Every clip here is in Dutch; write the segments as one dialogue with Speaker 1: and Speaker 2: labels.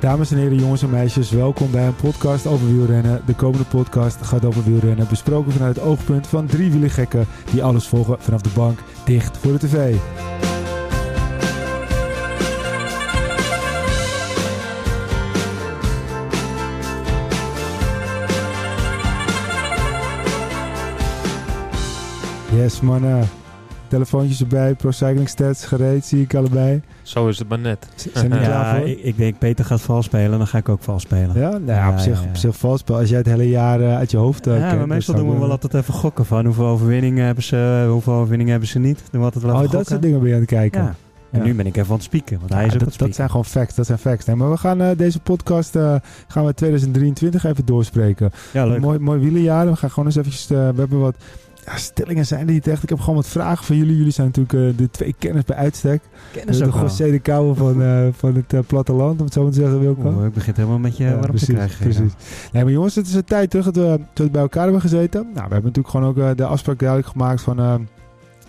Speaker 1: Dames en heren, jongens en meisjes, welkom bij een podcast over wielrennen. De komende podcast gaat over wielrennen, besproken vanuit het oogpunt van drie gekken die alles volgen vanaf de bank, dicht voor de tv. Yes mannen, telefoontjes erbij, Pro Cycling Stats gereed, zie ik allebei.
Speaker 2: Zo is het maar net.
Speaker 1: Z- Zijn jullie klaar
Speaker 3: Ja,
Speaker 1: voor?
Speaker 3: ik, ik denk Peter gaat vals spelen, dan ga ik ook vals spelen.
Speaker 1: Ja, nou ja, op,
Speaker 3: Ja,
Speaker 1: zich,
Speaker 3: ja, ja.
Speaker 1: op zich vals spel. Als jij het hele jaar eh, uit je hoofd eh,
Speaker 3: Ja,
Speaker 1: kent.
Speaker 3: maar
Speaker 1: dat
Speaker 3: meestal
Speaker 1: zou
Speaker 3: doen we wel
Speaker 1: kunnen.
Speaker 3: altijd even gokken van hoeveel overwinningen hebben ze, hoeveel overwinningen hebben ze niet. Doen we altijd wel even
Speaker 1: Oh, dat
Speaker 3: gokken.
Speaker 1: soort dingen ben je aan het kijken.
Speaker 3: Ja. En
Speaker 1: Ja.
Speaker 3: nu ben ik even aan het spieken, want hij is
Speaker 1: Ja,
Speaker 3: ook aan
Speaker 1: dat,
Speaker 3: het
Speaker 1: dat
Speaker 3: spieken.
Speaker 1: zijn gewoon facts. Dat zijn facts. Nee, maar we gaan eh, deze podcast eh, gaan we 2023 even doorspreken.
Speaker 3: Ja, leuk.
Speaker 1: Mooi, mooi wielenjaar. We gaan gewoon eens eventjes... eh, we hebben wat ja, stellingen zijn er niet echt. Ik heb gewoon wat vragen voor jullie. Jullie zijn natuurlijk eh, de twee kenners bij uitstek.
Speaker 3: Kennis
Speaker 1: de
Speaker 3: ook wel.
Speaker 1: José de Kouwer van, eh, van het eh, platteland, om het zo maar te zeggen, Wilco.
Speaker 3: Oeh, ik begin het helemaal met je warm
Speaker 1: Eh, precies,
Speaker 3: te krijgen.
Speaker 1: Precies. Nee, maar jongens, het is een tijd terug dat we, dat we bij elkaar hebben gezeten. Nou, we hebben natuurlijk gewoon ook eh, de afspraak duidelijk gemaakt van... eh,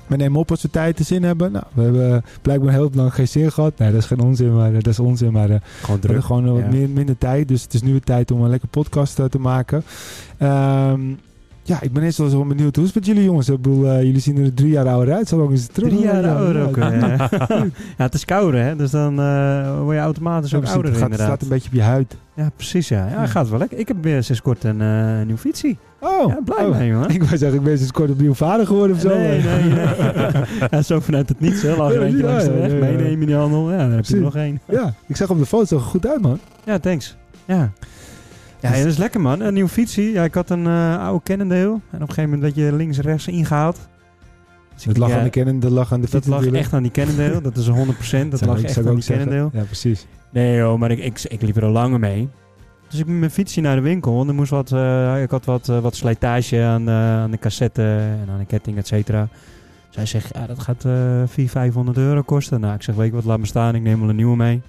Speaker 1: we nemen op als we tijd te zin hebben. Nou, we hebben blijkbaar heel lang geen zin gehad. Nee, dat is geen onzin, maar eh, dat is onzin. Maar eh,
Speaker 3: Gewoon
Speaker 1: we
Speaker 3: druk.
Speaker 1: hadden gewoon eh, wat
Speaker 3: ja.
Speaker 1: meer- minder tijd. Dus het is nu weer tijd om een lekker podcast eh, te maken. Ehm, ja, ik ben eerst wel eens wel benieuwd. Hoe is het met jullie jongens? Ik bedoel, eh, jullie zien er drie jaar ouder uit. Zo lang is het terug.
Speaker 3: Drie jaar
Speaker 1: Ja,
Speaker 3: ouder
Speaker 1: ja,
Speaker 3: ook.
Speaker 1: ja.
Speaker 3: eh. ja, het is kouder, hè? Dus dan eh, word je automatisch
Speaker 1: Zo
Speaker 3: ook
Speaker 1: ouder
Speaker 3: ouder,
Speaker 1: het gaat, het
Speaker 3: inderdaad.
Speaker 1: staat een beetje op je huid.
Speaker 3: Ja, precies, ja. Ja, gaat wel lekker. Ik heb weer sinds kort een eh, nieuw fietsie.
Speaker 1: Oh,
Speaker 3: ja, blij
Speaker 1: oh.
Speaker 3: mee, man.
Speaker 1: Ik was eigenlijk ben sinds kort opnieuw vader geworden of zo.
Speaker 3: Nee, nee, nee. ja, zo vanuit het niets, hè. Laat je
Speaker 1: Ja,
Speaker 3: eentje
Speaker 1: ja,
Speaker 3: langs de
Speaker 1: ja,
Speaker 3: weg,
Speaker 1: ja, ja.
Speaker 3: meenemen in die handel. Ja, daar heb je
Speaker 1: Precies.
Speaker 3: er nog één.
Speaker 1: Ja, ik zag op de foto, zag er goed uit, man.
Speaker 3: Ja, thanks. Ja. Ja, ja, dat is lekker man. Een nieuw fietsie. Ja, ik had een eh, oude Cannondale. En op een gegeven moment dat je links rechts ingehaald. Dus ik
Speaker 1: Het
Speaker 3: denk,
Speaker 1: lag
Speaker 3: ja,
Speaker 1: aan de kennen, dat lag aan de
Speaker 3: dat
Speaker 1: fiets
Speaker 3: lag
Speaker 1: natuurlijk.
Speaker 3: echt aan die Cannondale. Dat is 100%. Dat
Speaker 1: Zou
Speaker 3: lag
Speaker 1: ik- zou
Speaker 3: echt
Speaker 1: ik
Speaker 3: aan
Speaker 1: ook
Speaker 3: die
Speaker 1: zeggen.
Speaker 3: Cannondale.
Speaker 1: Ja, precies.
Speaker 3: Nee joh, maar ik, ik, ik liep er al langer mee. Dus ik ben met mijn fietsje naar de winkel. Want er moest wat, eh, ik had wat, eh, wat slijtage aan, eh, aan de cassette en aan de ketting, et cetera. Zij zegt, ja, dat gaat eh 400, 500 euro kosten. Nou, ik zeg, weet je wat, laat me staan. Ik neem wel een nieuwe mee.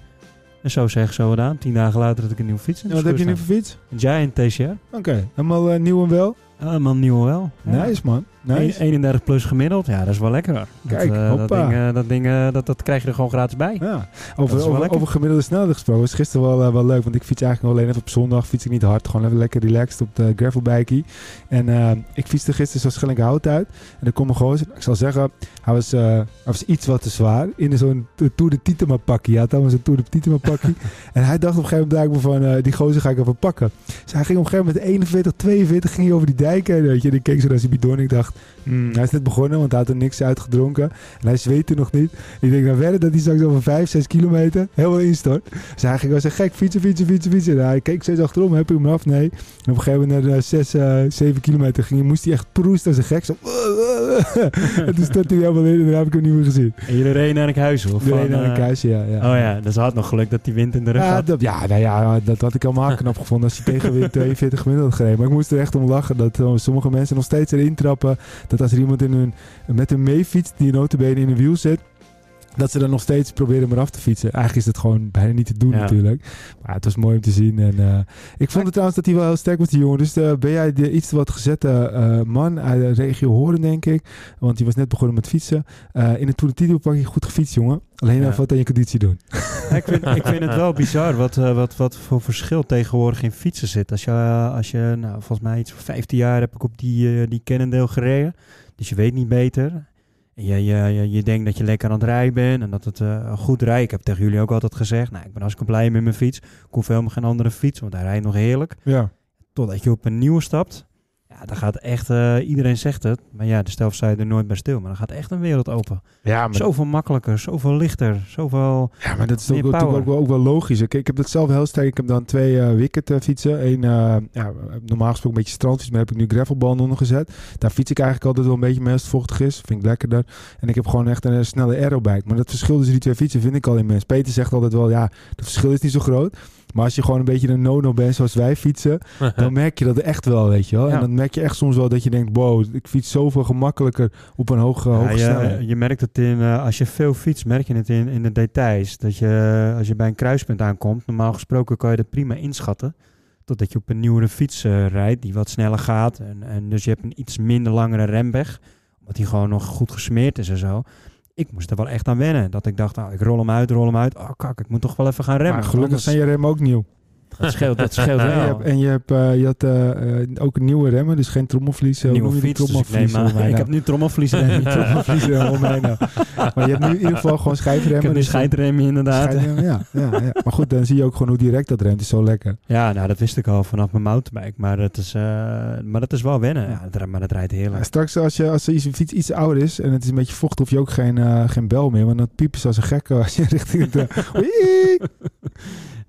Speaker 3: En zo zeg ik zo gedaan. Tien dagen later had ik een nieuwe fiets. in de
Speaker 1: wat heb je nu
Speaker 3: schuur
Speaker 1: voor fiets?
Speaker 3: staan. Een Giant TCR.
Speaker 1: Oké, helemaal eh, nieuw en wel.
Speaker 3: Helemaal nieuw wel. Ja.
Speaker 1: Nice, man. Nice.
Speaker 3: Een- 31 plus gemiddeld. Ja, dat is wel lekker. hoor. Dat,
Speaker 1: Kijk,
Speaker 3: eh, dat,
Speaker 1: hoppa.
Speaker 3: ding, eh, dat, ding, eh, dat, dat krijg je er gewoon gratis bij.
Speaker 1: Ja.
Speaker 3: is wel
Speaker 1: Over, over,
Speaker 3: lekker.
Speaker 1: over gemiddelde snelheid gesproken was gisteren wel, eh, wel leuk. Want ik fiets eigenlijk alleen even op zondag. Fiets ik niet hard. Gewoon even lekker relaxed op de gravelbikey. En eh, ik fietste gisteren zo Schellinghout uit. En er kwam een gozer. Ik zal zeggen, hij was, eh, hij was iets wat te zwaar. In zo'n t- Tour de Titema pakkie. Hij had allemaal zo'n Tour de Titema pakkie. en hij dacht op een gegeven moment blijkbaar van, eh, die gozer ga ik even pakken. Dus hij ging op een gegeven moment 41, 42 ging hij over die dijk heen. Weet je. En ik keek zo naar zijn bidon en ik dacht, hmm, hij is net begonnen. Want hij had er niks uitgedronken. En hij zweette nog niet. Ik denk dan verder dat hij straks over 5, 6 kilometer helemaal instort. Dus hij ging wel zo gek fietsen, fietsen, fietsen, fietsen. En hij keek steeds achterom, heb je hem af? Nee. En op een gegeven moment naar 6, 7 eh, kilometer ging, hij- moest hij echt proesten als een gek. Zo. en toen stort hij helemaal in en daar heb ik hem niet meer gezien.
Speaker 3: En jullie reden naar het huis, hoor.
Speaker 1: Nee,
Speaker 3: Van,
Speaker 1: naar een
Speaker 3: eh,
Speaker 1: kuisje, ja. ja.
Speaker 3: Oh ja, dus ze had nog geluk dat die wind in de rug
Speaker 1: Ja,
Speaker 3: had.
Speaker 1: dat, ja, nou ja, dat had ik allemaal knap gevonden als hij tegen weer 42 gemiddeld had gereden. Maar ik moest er echt om lachen dat eh, sommige mensen nog steeds erin trappen. Dat als er iemand in hun, met hun mee fietst die notabene in een wiel zit. Dat ze dan nog steeds proberen maar af te fietsen. Eigenlijk is dat gewoon bijna niet te doen
Speaker 3: Ja.
Speaker 1: natuurlijk. Maar het was mooi om te zien. En, eh, ik vond het trouwens dat hij wel heel sterk was, die jongen. Dus eh, ben jij de iets wat gezette eh, man uit de regio Horen, denk ik. Want die was net begonnen met fietsen. Eh, in het Tour de Tito pak je goed gefietst, jongen. Alleen
Speaker 3: Ja.
Speaker 1: even wat aan je conditie doen.
Speaker 3: Ja, ik, vind, ik vind het wel bizar wat, eh, wat, wat voor verschil tegenwoordig in fietsen zit. Als je, eh, als je nou, volgens mij iets van 15 jaar heb ik op die, eh, die Cannondale gereden. Dus je weet niet beter. En Je, je, je, je denkt dat je lekker aan het rijden bent en dat het eh, goed rijdt. Ik heb tegen jullie ook altijd gezegd, nou, ik ben hartstikke blij met mijn fiets. Ik hoef helemaal geen andere fiets, want hij rijdt nog heerlijk.
Speaker 1: Ja.
Speaker 3: Totdat je op een nieuwe stapt. Ja, dan gaat echt, eh, iedereen zegt het, maar ja, de stelf zei er nooit bij stil. Maar dan gaat echt een wereld open.
Speaker 1: Ja,
Speaker 3: Zoveel makkelijker, zoveel lichter, zoveel...
Speaker 1: Ja, maar dat is
Speaker 3: Meer
Speaker 1: ook, wel-
Speaker 3: power.
Speaker 1: natuurlijk ook, wel- ook wel logisch. Kijk, ik heb dat zelf heel sterk. Ik heb dan twee eh, wicket eh, fietsen. Eén, eh, ja, normaal gesproken een beetje strandfiets, maar heb ik nu gravelbanden ondergezet. Daar fiets ik eigenlijk altijd wel een beetje mee als het vochtig is. Vind ik lekkerder. En ik heb gewoon echt een, eh, snelle aerobike. Maar dat verschil tussen die twee fietsen vind ik al immens. Peter zegt altijd wel, ja, het verschil is niet zo groot. Maar als je gewoon een beetje een no-no bent zoals wij fietsen, dan merk je dat echt wel, weet je wel. En
Speaker 3: Ja.
Speaker 1: dan merk je echt soms wel dat je denkt, wow, ik fiets zoveel gemakkelijker op een hoge,
Speaker 3: Ja,
Speaker 1: hoge snelheid.
Speaker 3: je, je merkt het in, eh, als je veel fietst, merk je het in, in de details. Dat je, eh, als je bij een kruispunt aankomt, normaal gesproken kan je dat prima inschatten. Totdat je op een nieuwere fiets eh, rijdt, die wat sneller gaat. En, en dus je hebt een iets minder langere remweg, omdat die gewoon nog goed gesmeerd is en zo. ik moest er wel echt aan wennen. Dat ik dacht, nou, ik rol hem uit, rol hem uit. Oh kak, ik moet toch wel even gaan remmen.
Speaker 1: Maar gelukkig
Speaker 3: anders-
Speaker 1: zijn je remmen ook nieuw.
Speaker 3: Dat scheelt, dat scheelt
Speaker 1: En je
Speaker 3: wel.
Speaker 1: hebt, en je, hebt, eh, je had eh, eh, ook nieuwe remmen, dus geen trommelvlies. eh, hoe
Speaker 3: Nieuwe
Speaker 1: noem je die
Speaker 3: fiets, dus ik neem
Speaker 1: trommelvliezen
Speaker 3: aan.
Speaker 1: om mij
Speaker 3: Ik
Speaker 1: nou?
Speaker 3: heb nu trommelvlies. en
Speaker 1: Niet trommelvliezen om mij nou. Maar je hebt nu in ieder geval gewoon
Speaker 3: Ik
Speaker 1: schijfremmen.
Speaker 3: heb nu
Speaker 1: dus dan-
Speaker 3: scheidremmen inderdaad.
Speaker 1: schijfremmen, ja, ja, ja. Maar goed, dan zie je ook gewoon hoe direct dat remt. is zo lekker.
Speaker 3: Ja, nou, dat wist ik al vanaf mijn mountainbike. Maar dat is, eh, maar dat is wel wennen. Ja, dat, ri- maar dat rijdt
Speaker 1: Maar
Speaker 3: heerlijk.
Speaker 1: straks als, je, als je iets- fiets iets ouder is en het is een beetje vocht, hoef je ook geen, eh, geen bel meer. Want dan piepen ze als een gekke als je richting het... eh, wieek.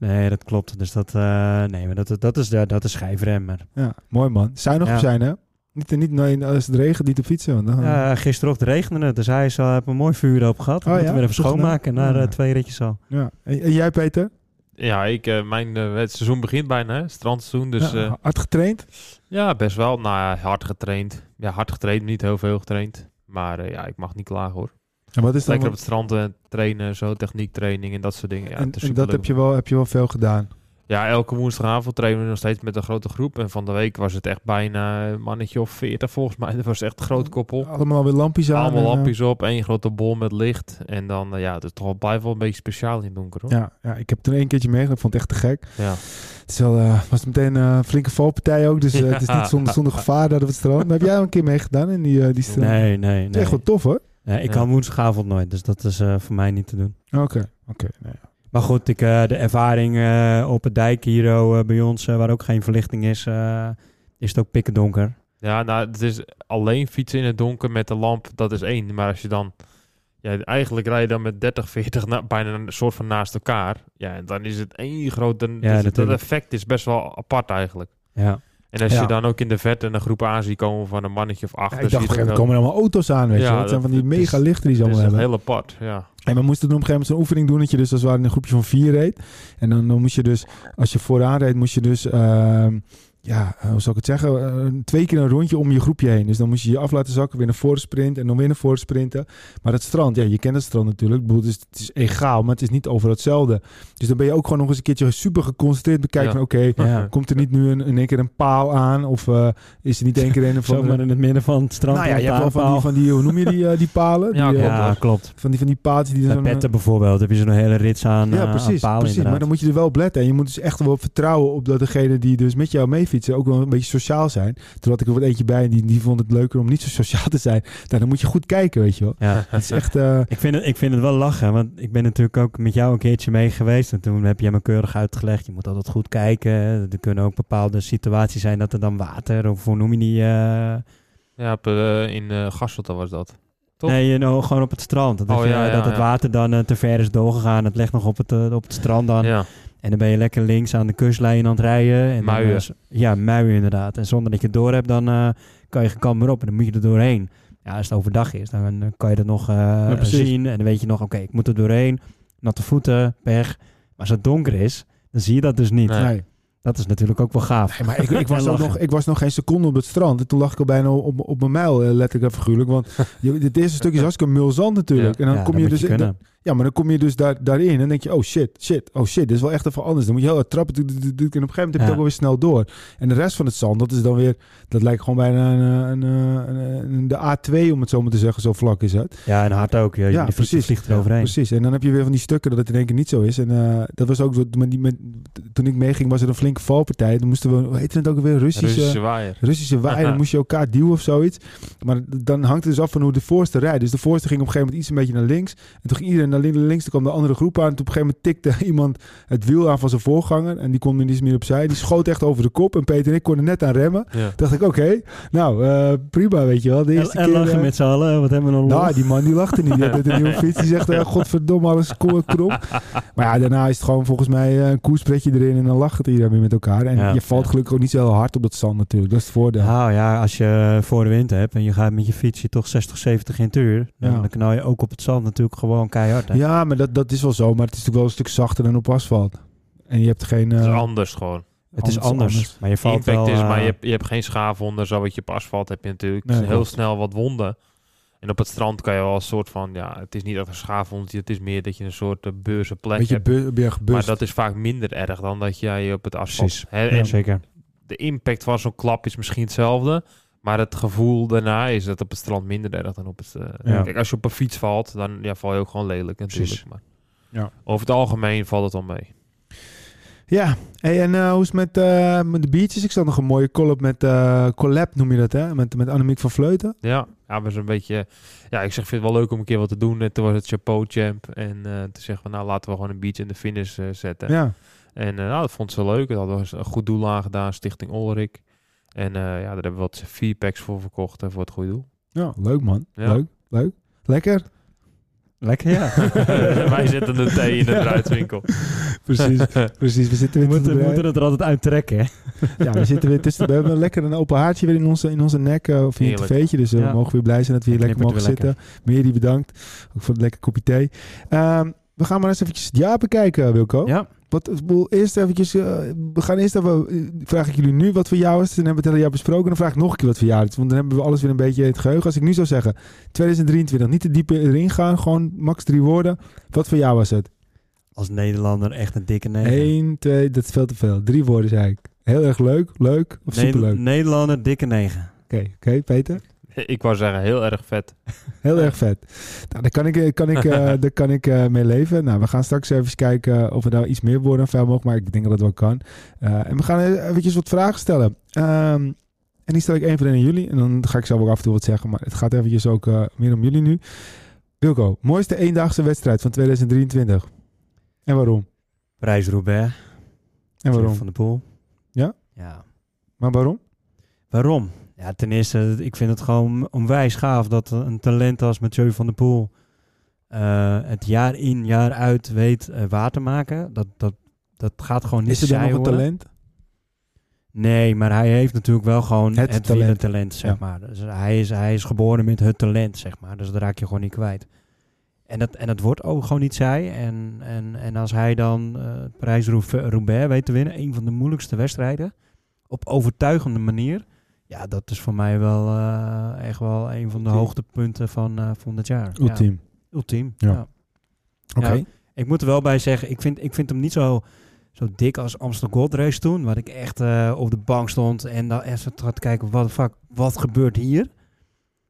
Speaker 3: Nee, dat klopt. Dus dat, eh, nee, maar dat, dat, is, dat is schijfrem. Maar
Speaker 1: ja, mooi man. Zuinig
Speaker 3: Ja.
Speaker 1: op zijn, hè? Niet, niet nee, als het regent, niet op fietsen. Want dan,
Speaker 3: Ja, gisteren ochtend regende het, dus hij is al, heb een mooi vuurloop gehad. We
Speaker 1: Oh
Speaker 3: moeten
Speaker 1: ja?
Speaker 3: weer even
Speaker 1: Goed gedaan.
Speaker 3: schoonmaken na
Speaker 1: Ja.
Speaker 3: eh, twee ritjes al.
Speaker 1: ja. En, en jij, Peter?
Speaker 2: Ja, ik, eh, mijn, eh, het seizoen begint bijna, hè? strandseizoen. Dus
Speaker 1: Ja,
Speaker 2: ja,
Speaker 1: hard getraind?
Speaker 2: ja best wel. Nou ja, hard getraind. Ja, hard getraind, niet heel veel getraind. Maar eh, ja, ik mag niet klagen hoor.
Speaker 1: En wat is dan...
Speaker 2: Lekker op het strand eh, trainen, zo techniek training en dat soort dingen. Ja,
Speaker 1: en,
Speaker 2: het is
Speaker 1: en dat
Speaker 2: superleuk.
Speaker 1: heb je, wel, heb je wel veel gedaan.
Speaker 2: Ja, elke woensdagavond trainen we nog steeds met een grote groep. En van de week was het echt bijna een mannetje of veertig volgens mij. Dat was echt een groot koppel.
Speaker 1: Allemaal weer lampjes aan.
Speaker 2: Allemaal
Speaker 1: en, eh,
Speaker 2: lampjes op, één grote bol met licht. En dan, eh, ja, het is toch wel, blijft wel een beetje speciaal in het donker hoor.
Speaker 1: Ja, ja, ik heb toen één keertje meegedaan. Ik vond het echt te gek.
Speaker 2: Ja.
Speaker 1: Het is wel, eh, was meteen eh, een flinke valpartij ook. Dus eh, het is niet zonder, zonder gevaar daar op het strand. Maar heb jij al een keer meegedaan in die, eh die strand?
Speaker 3: Nee, nee,
Speaker 1: Het is
Speaker 3: nee.
Speaker 1: echt wel tof hoor.
Speaker 3: Nee, ik
Speaker 2: Ja.
Speaker 3: kan woensdagavond nooit, dus dat is eh, voor mij niet te doen.
Speaker 1: Oké, oké. nee.
Speaker 3: Maar goed, ik, eh, de ervaring eh, op het dijk hier oh, eh, bij ons, eh, waar ook geen verlichting is, eh, is het ook pikken donker.
Speaker 2: Ja, nou, het is alleen fietsen in het donker met de lamp, dat is één. Maar als je dan... Ja, eigenlijk rij je dan met 30, 40 na- bijna een soort van naast elkaar. Ja, en dan is het één groot... Dan, dus het- dat
Speaker 3: natuurlijk.
Speaker 2: effect is best wel apart eigenlijk.
Speaker 3: Ja.
Speaker 2: En als
Speaker 1: Ja.
Speaker 2: je dan ook in de verte een groep aan ziet komen van een mannetje of acht...
Speaker 1: Ja,
Speaker 2: dan
Speaker 1: ik
Speaker 2: zie
Speaker 1: dacht, op
Speaker 2: je
Speaker 1: een gegeven
Speaker 2: dat
Speaker 1: moment komen er allemaal auto's aan, weet je
Speaker 2: Ja,
Speaker 1: wel. Het zijn van
Speaker 2: dat-
Speaker 1: die
Speaker 2: dat is-
Speaker 1: mega lichten die ze
Speaker 2: wel-
Speaker 1: allemaal
Speaker 2: dat is
Speaker 1: hebben.
Speaker 2: echt heel apart, ja.
Speaker 1: En we moesten toen op een gegeven moment zo'n oefening doen dat je dus als het ware in een groepje van vier reed. En dan, dan moest je dus, als je vooraan reed, moest je dus, ehm, ja, eh, hoe zal ik het zeggen, Eh, twee keer een rondje om je groepje heen. Dus dan moest je je af laten zakken, weer naar voren sprinten en dan weer naar voren sprinten. Maar het strand, ja, je kent het strand natuurlijk. Ik bedoel, het, is, het is egaal, maar het is niet overal hetzelfde. Dus dan ben je ook gewoon nog eens een keertje super geconcentreerd bekijken
Speaker 2: Ja.
Speaker 1: van oké,
Speaker 3: ja.
Speaker 1: komt er niet nu een, in één keer een paal aan of eh, is er niet één keer een of
Speaker 3: Zomaar
Speaker 1: andere...
Speaker 3: in het midden van het strand.
Speaker 1: Nou ja,
Speaker 3: komt
Speaker 1: je hebt wel
Speaker 3: daar
Speaker 1: van die, van die, hoe noem je die, eh, die palen? Die,
Speaker 2: Ja,
Speaker 1: eh,
Speaker 2: klopt.
Speaker 3: Ja, klopt.
Speaker 1: van die, van die paaltjes die er
Speaker 3: Bij
Speaker 1: zo'n- eh,
Speaker 3: petten bijvoorbeeld heb je zo'n hele rits aan, eh,
Speaker 1: Ja,
Speaker 3: aan
Speaker 1: precies.
Speaker 3: palen
Speaker 1: precies. Maar
Speaker 3: inderdaad.
Speaker 1: dan moet je er wel op letten. En je moet dus echt wel vertrouwen op dat degene die dus met jou meefietsen ook wel een beetje sociaal zijn. Toen had ik er wat eentje bij en die, die vond het leuker om niet zo sociaal te zijn. Nou, dan moet je goed kijken, weet je wel.
Speaker 3: Ja.
Speaker 1: Het is echt... eh,
Speaker 3: Ik vind, het, ik vind het wel lachen, want ik ben natuurlijk ook met jou een keertje mee geweest. En toen heb jij me keurig uitgelegd, je moet altijd goed kijken. Er kunnen ook bepaalde situaties zijn dat er dan water, of hoe noem je die? eh,
Speaker 2: Ja, op, eh, in eh Gasselte was dat. Top.
Speaker 3: Nee, je nou, gewoon op het strand. Dat,
Speaker 2: Oh,
Speaker 3: je-
Speaker 2: ja, ja,
Speaker 3: dat het
Speaker 2: ja.
Speaker 3: water dan eh, te ver is doorgegaan. Het ligt nog op het, eh, op het strand dan.
Speaker 2: Ja.
Speaker 3: En dan ben je lekker links aan de kustlijn aan het rijden. En Dan,
Speaker 2: Muien.
Speaker 3: eh, z- ja, muien inderdaad. En zonder dat je het door hebt, dan eh, kan je geen kant meer op. En dan moet je er doorheen. Ja, als het overdag is, dan eh, kan je dat nog eh,
Speaker 1: precies.
Speaker 3: zien. En dan weet je nog, oké, ik moet er doorheen. Natte voeten, pech. Maar als het donker is, dan zie je dat dus niet.
Speaker 2: Nee.
Speaker 1: nee.
Speaker 3: Dat is natuurlijk ook wel gaaf.
Speaker 1: Nee, maar ik, ik, was
Speaker 3: En
Speaker 1: ook
Speaker 3: lachen.
Speaker 1: nog, ik was nog geen seconde op het strand. En toen lag ik al bijna op, op mijn mijl, eh, letterlijk en figuurlijk. Want je, dit eerste stukje is hartstikke mulzand natuurlijk. en dan
Speaker 3: Ja,
Speaker 1: kom
Speaker 3: dat
Speaker 1: je
Speaker 3: moet
Speaker 1: dus... in-
Speaker 3: kunnen.
Speaker 1: ja, maar dan kom je dus daar, daarin en denk je... Oh shit, shit, oh shit. Dit is wel echt even anders. Dan moet je heel hard trappen. doet, doet, doet, doet, En op een gegeven moment heb je
Speaker 3: Ja.
Speaker 1: het ook wel weer snel door. En de rest van het zand, dat is dan weer... Dat lijkt gewoon bijna een, eh, een, eh, een, een- de A2, om het zo maar te zeggen. Zo vlak is het.
Speaker 3: Ja, en hard ook. Ja,
Speaker 1: Ja,
Speaker 3: de fiets
Speaker 1: precies.
Speaker 3: vliegt er overheen.
Speaker 1: Precies. En dan heb je weer van die stukken dat het in één keer niet zo is. En eh, dat was ook... zo- Met die, met, toen ik meeging was er een flinke valpartij. Toen moesten we... Hoe heette het ook alweer? Russische...
Speaker 2: Russische waaier.
Speaker 1: Russische waaier, dan moest je elkaar duwen of zoiets. Maar dan hangt het dus af van hoe de voorste rijdt. Dus de voorste ging op een gegeven moment iets een beetje naar links. En toen ging iedereen naar lin- naar links, toen kwam de andere groep aan. En toen op een gegeven moment tikte iemand het wiel aan van zijn voorganger. En die kon niet eens meer opzij. Die schoot echt over de kop. En Peter en ik konden net aan remmen.
Speaker 2: Ja.
Speaker 1: Dacht ik, oké, nou eh, prima, weet je wel. De
Speaker 3: En,
Speaker 1: eerste
Speaker 3: en
Speaker 1: keer,
Speaker 3: lachen
Speaker 1: eh,
Speaker 3: met z'n allen. Wat hebben we nog
Speaker 1: nou, die man die lachte niet. Die had net een nieuwe fiets. Die zegt, eh, godverdomme, alles ko- krom. Maar ja, daarna is het gewoon volgens mij eh, een koerspretje erin. En dan lacht het iedereen weer met elkaar. En
Speaker 3: Ja,
Speaker 1: je valt
Speaker 2: ja.
Speaker 1: gelukkig ook niet zo heel hard op dat zand natuurlijk. Dat is het voordeel.
Speaker 3: Nou ja, als je voor de wind hebt en je gaat met je fietsje toch 60, 70 in het uur, dan,
Speaker 1: Ja.
Speaker 3: dan knal je ook op het zand natuurlijk gewoon keihard. Hè?
Speaker 1: Ja, maar dat, dat is wel zo. Maar het is natuurlijk wel een stuk zachter dan op asfalt. En je hebt geen... eh,
Speaker 2: Het is anders gewoon.
Speaker 3: het is
Speaker 1: anders-
Speaker 3: anders,
Speaker 1: anders.
Speaker 3: maar je valt
Speaker 2: impact
Speaker 3: wel...
Speaker 2: is, maar
Speaker 3: eh,
Speaker 2: je hebt, je hebt geen schaafwonden. Zo wat je op asfalt heb je natuurlijk
Speaker 1: Nee,
Speaker 2: heel
Speaker 1: klopt.
Speaker 2: snel wat wonden. En op het strand kan je wel een soort van, ja, het is niet echt een schaafwond. Het is meer dat je een soort eh, beurzenplek
Speaker 1: beetje
Speaker 2: hebt.
Speaker 1: bu- ben je gebust.
Speaker 2: Maar dat is vaak minder erg dan dat jij op het asfalt...
Speaker 3: Precies.
Speaker 2: Hè,
Speaker 3: ja,
Speaker 2: en
Speaker 3: zeker.
Speaker 2: de impact van zo'n klap is misschien hetzelfde. Maar het gevoel daarna is dat op het strand minder erg dan op het... eh,
Speaker 3: Ja.
Speaker 2: Kijk, als je op een fiets valt, dan ja, val je ook gewoon lelijk natuurlijk.
Speaker 3: Precies.
Speaker 2: Maar
Speaker 1: Ja.
Speaker 2: Over het algemeen valt het wel mee.
Speaker 1: Ja, hey, en eh, hoe is het met, eh, met de biertjes? Ik zag nog een mooie collab met eh, collab, noem je dat hè? Met, met Annemiek van Vleuten.
Speaker 2: Ja, ja maar zo'n beetje... Ja, ik zeg, vind het wel leuk om een keer wat te doen. En toen was het Chapeau Champ. En eh, toen zeggen we, nou laten we gewoon een beach in de finish eh, zetten.
Speaker 1: Ja.
Speaker 2: En eh, nou, dat vond ze leuk. Dat hadden we een goed doel aangedaan, Stichting Olrik. En eh, ja, daar hebben we wat vier packs voor verkocht eh, voor het goede doel.
Speaker 1: ja, leuk man.
Speaker 2: Ja.
Speaker 1: Leuk, leuk. Lekker.
Speaker 3: Lekker, ja.
Speaker 2: Wij zetten de thee in de bruidswinkel.
Speaker 1: Precies, precies. We zitten
Speaker 3: We
Speaker 1: weer
Speaker 3: moeten,
Speaker 1: tussen
Speaker 3: we
Speaker 1: de-
Speaker 3: moeten het er altijd uit trekken, hè.
Speaker 1: Ja, we zitten weer tussen. We hebben lekker een open haartje weer in onze, in onze nek eh, of in het
Speaker 2: Heerlijk.
Speaker 1: tv'tje. Dus eh, we
Speaker 3: Ja.
Speaker 1: mogen weer blij zijn dat we hier
Speaker 3: Dan
Speaker 1: lekker mogen
Speaker 3: knippert
Speaker 1: zitten.
Speaker 3: het
Speaker 1: Meri, bedankt. Ook voor het lekker kopje thee. Ehm, we gaan maar eens eventjes het jaar bekijken, Wilco.
Speaker 3: Ja.
Speaker 1: Wat, ik bedoel, eerst eventjes, eh, we gaan eerst even, eh, vraag ik jullie nu wat voor jou is. Dan hebben we het hele jaar besproken. Dan vraag ik nog een keer wat voor jou is. Want dan hebben we alles weer een beetje in het geheugen. Als ik nu zou zeggen, 2023, niet te diep erin gaan. Gewoon max drie woorden. Wat voor jou was het?
Speaker 3: Als Nederlander echt een dikke negen.
Speaker 1: Eén, twee, dat is veel te veel. Drie woorden zei ik. Heel erg leuk, leuk of
Speaker 3: Ne-
Speaker 1: superleuk. Oké,
Speaker 3: Nederlander, dikke negen.
Speaker 1: oké, Peter.
Speaker 2: Ik wou zeggen, heel erg vet.
Speaker 1: Heel erg vet. Nou, daar kan ik, kan ik, eh, daar kan ik eh, mee leven. Nou, we gaan straks even kijken eh, of we daar iets meer woorden aan vuil mogen. Maar ik denk dat dat wel kan. Eh, en we gaan eventjes wat vragen stellen. Ehm, en die stel ik één voor één aan jullie. En dan ga ik zelf ook af en toe wat zeggen. Maar het gaat eventjes ook eh, meer om jullie nu. Wilco, mooiste eendaagse wedstrijd van 2023. En waarom?
Speaker 3: Prijs Roubaix.
Speaker 1: En waarom?
Speaker 3: Van de Poel.
Speaker 1: Ja?
Speaker 3: Ja.
Speaker 1: Maar waarom?
Speaker 3: Waarom? Ja, ten eerste, ik vind het gewoon onwijs gaaf dat een talent als Mathieu van der Poel eh, het jaar in, jaar uit weet eh, waar te maken. Dat, dat, dat gaat gewoon niet
Speaker 1: Is er dan
Speaker 3: saai
Speaker 1: nog een
Speaker 3: worden.
Speaker 1: talent?
Speaker 3: Nee, maar hij heeft natuurlijk wel gewoon
Speaker 1: Het
Speaker 3: het,
Speaker 1: talent.
Speaker 3: talent. talent, zeg
Speaker 1: Ja.
Speaker 3: maar. Dus hij, is, hij is geboren met het talent, zeg maar. Dus dat raak je gewoon niet kwijt. En dat, en dat wordt ook gewoon niet zij. En, en, en als hij dan eh Parijs Roubaix weet te winnen, een van de moeilijkste wedstrijden, op overtuigende manier. Ja, dat is voor mij wel eh, echt wel een van de
Speaker 1: Ultiem.
Speaker 3: hoogtepunten van, eh, van dit jaar. Ja,
Speaker 1: Ultiem.
Speaker 3: ultiem,
Speaker 1: Ja.
Speaker 3: ja.
Speaker 1: Oké.
Speaker 3: Ja. Ik moet er wel bij zeggen, ik vind, ik vind hem niet zo, zo dik als Amsterdam Gold Race toen. Waar ik echt eh, op de bank stond en dan even zat te kijken, wat fuck, wat gebeurt hier?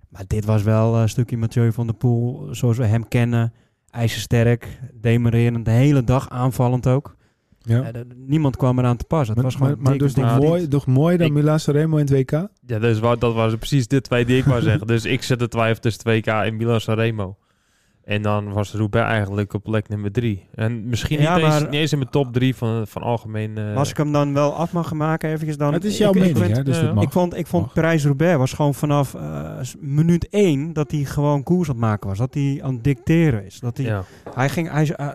Speaker 3: Maar dit was wel eh, een stukje Mathieu van der Poel, zoals we hem kennen. IJzersterk, demererend, de hele dag aanvallend ook.
Speaker 1: Ja.
Speaker 3: Eh, dat- niemand kwam eraan te pas. Het
Speaker 1: Maar,
Speaker 3: was gewoon
Speaker 1: maar, maar
Speaker 3: dik,
Speaker 1: dus
Speaker 3: dik,
Speaker 1: nog
Speaker 2: dik.
Speaker 1: mooi, nog mooi dan
Speaker 2: Ik-
Speaker 1: Milan Sanremo in het WK?
Speaker 2: Ja, dus wa- dat waren precies de twee die ik wou zeggen. Dus ik zette twijfel tussen 2K en Milan Sanremo. En dan was Roubaix eigenlijk op plek nummer drie. En misschien
Speaker 3: Ja,
Speaker 2: niet, eens,
Speaker 3: maar-
Speaker 2: niet eens in mijn top drie van, van algemeen... eh,
Speaker 3: Maar Als ik hem dan wel af mag maken, eventjes dan...
Speaker 1: het is jouw
Speaker 3: ik- ik
Speaker 1: mening,
Speaker 3: vind-
Speaker 1: hè? Dus
Speaker 2: ja,
Speaker 1: dat
Speaker 2: ja.
Speaker 1: mag.
Speaker 3: Ik vond, ik vond
Speaker 1: Mag.
Speaker 3: Parijs-Roubaix was gewoon vanaf eh, s- minuut 1 dat hij gewoon koers aan het maken was. Dat hij aan het dicteren is. Dat hij,
Speaker 2: ja.
Speaker 3: hij ging, hij, z- eh,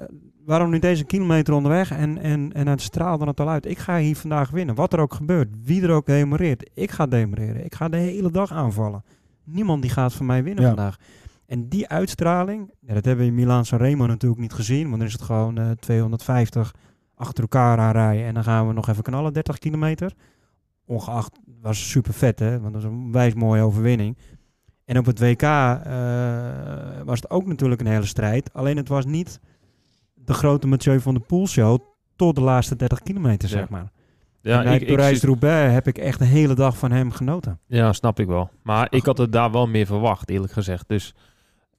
Speaker 3: waarom nu deze kilometer onderweg? En, en, en het straalde het al uit. Ik ga hier vandaag winnen. Wat er ook gebeurt. Wie er ook demoreert. Ik ga demoreren. Ik ga de hele dag aanvallen. Niemand die gaat van mij winnen
Speaker 1: Ja.
Speaker 3: vandaag. En die uitstraling, ja, dat hebben we in Milaan Sanremo natuurlijk niet gezien. Want dan is het gewoon eh, 250 achter elkaar aanrijden. En dan gaan we nog even knallen, 30 kilometer. Ongeacht, was super vet hè. Want dat was een wijs mooie overwinning. En op het WK eh, was het ook natuurlijk een hele strijd. Alleen het was niet de grote Mathieu van der Poel show tot de laatste 30 kilometer,
Speaker 2: Ja.
Speaker 3: zeg maar.
Speaker 2: Ja,
Speaker 3: en bij
Speaker 2: ik, ik zie-
Speaker 3: Parijs-Roubaix heb ik echt de hele dag van hem genoten.
Speaker 2: ja, snap ik wel. Maar ik had het daar wel meer verwacht, eerlijk gezegd. Dus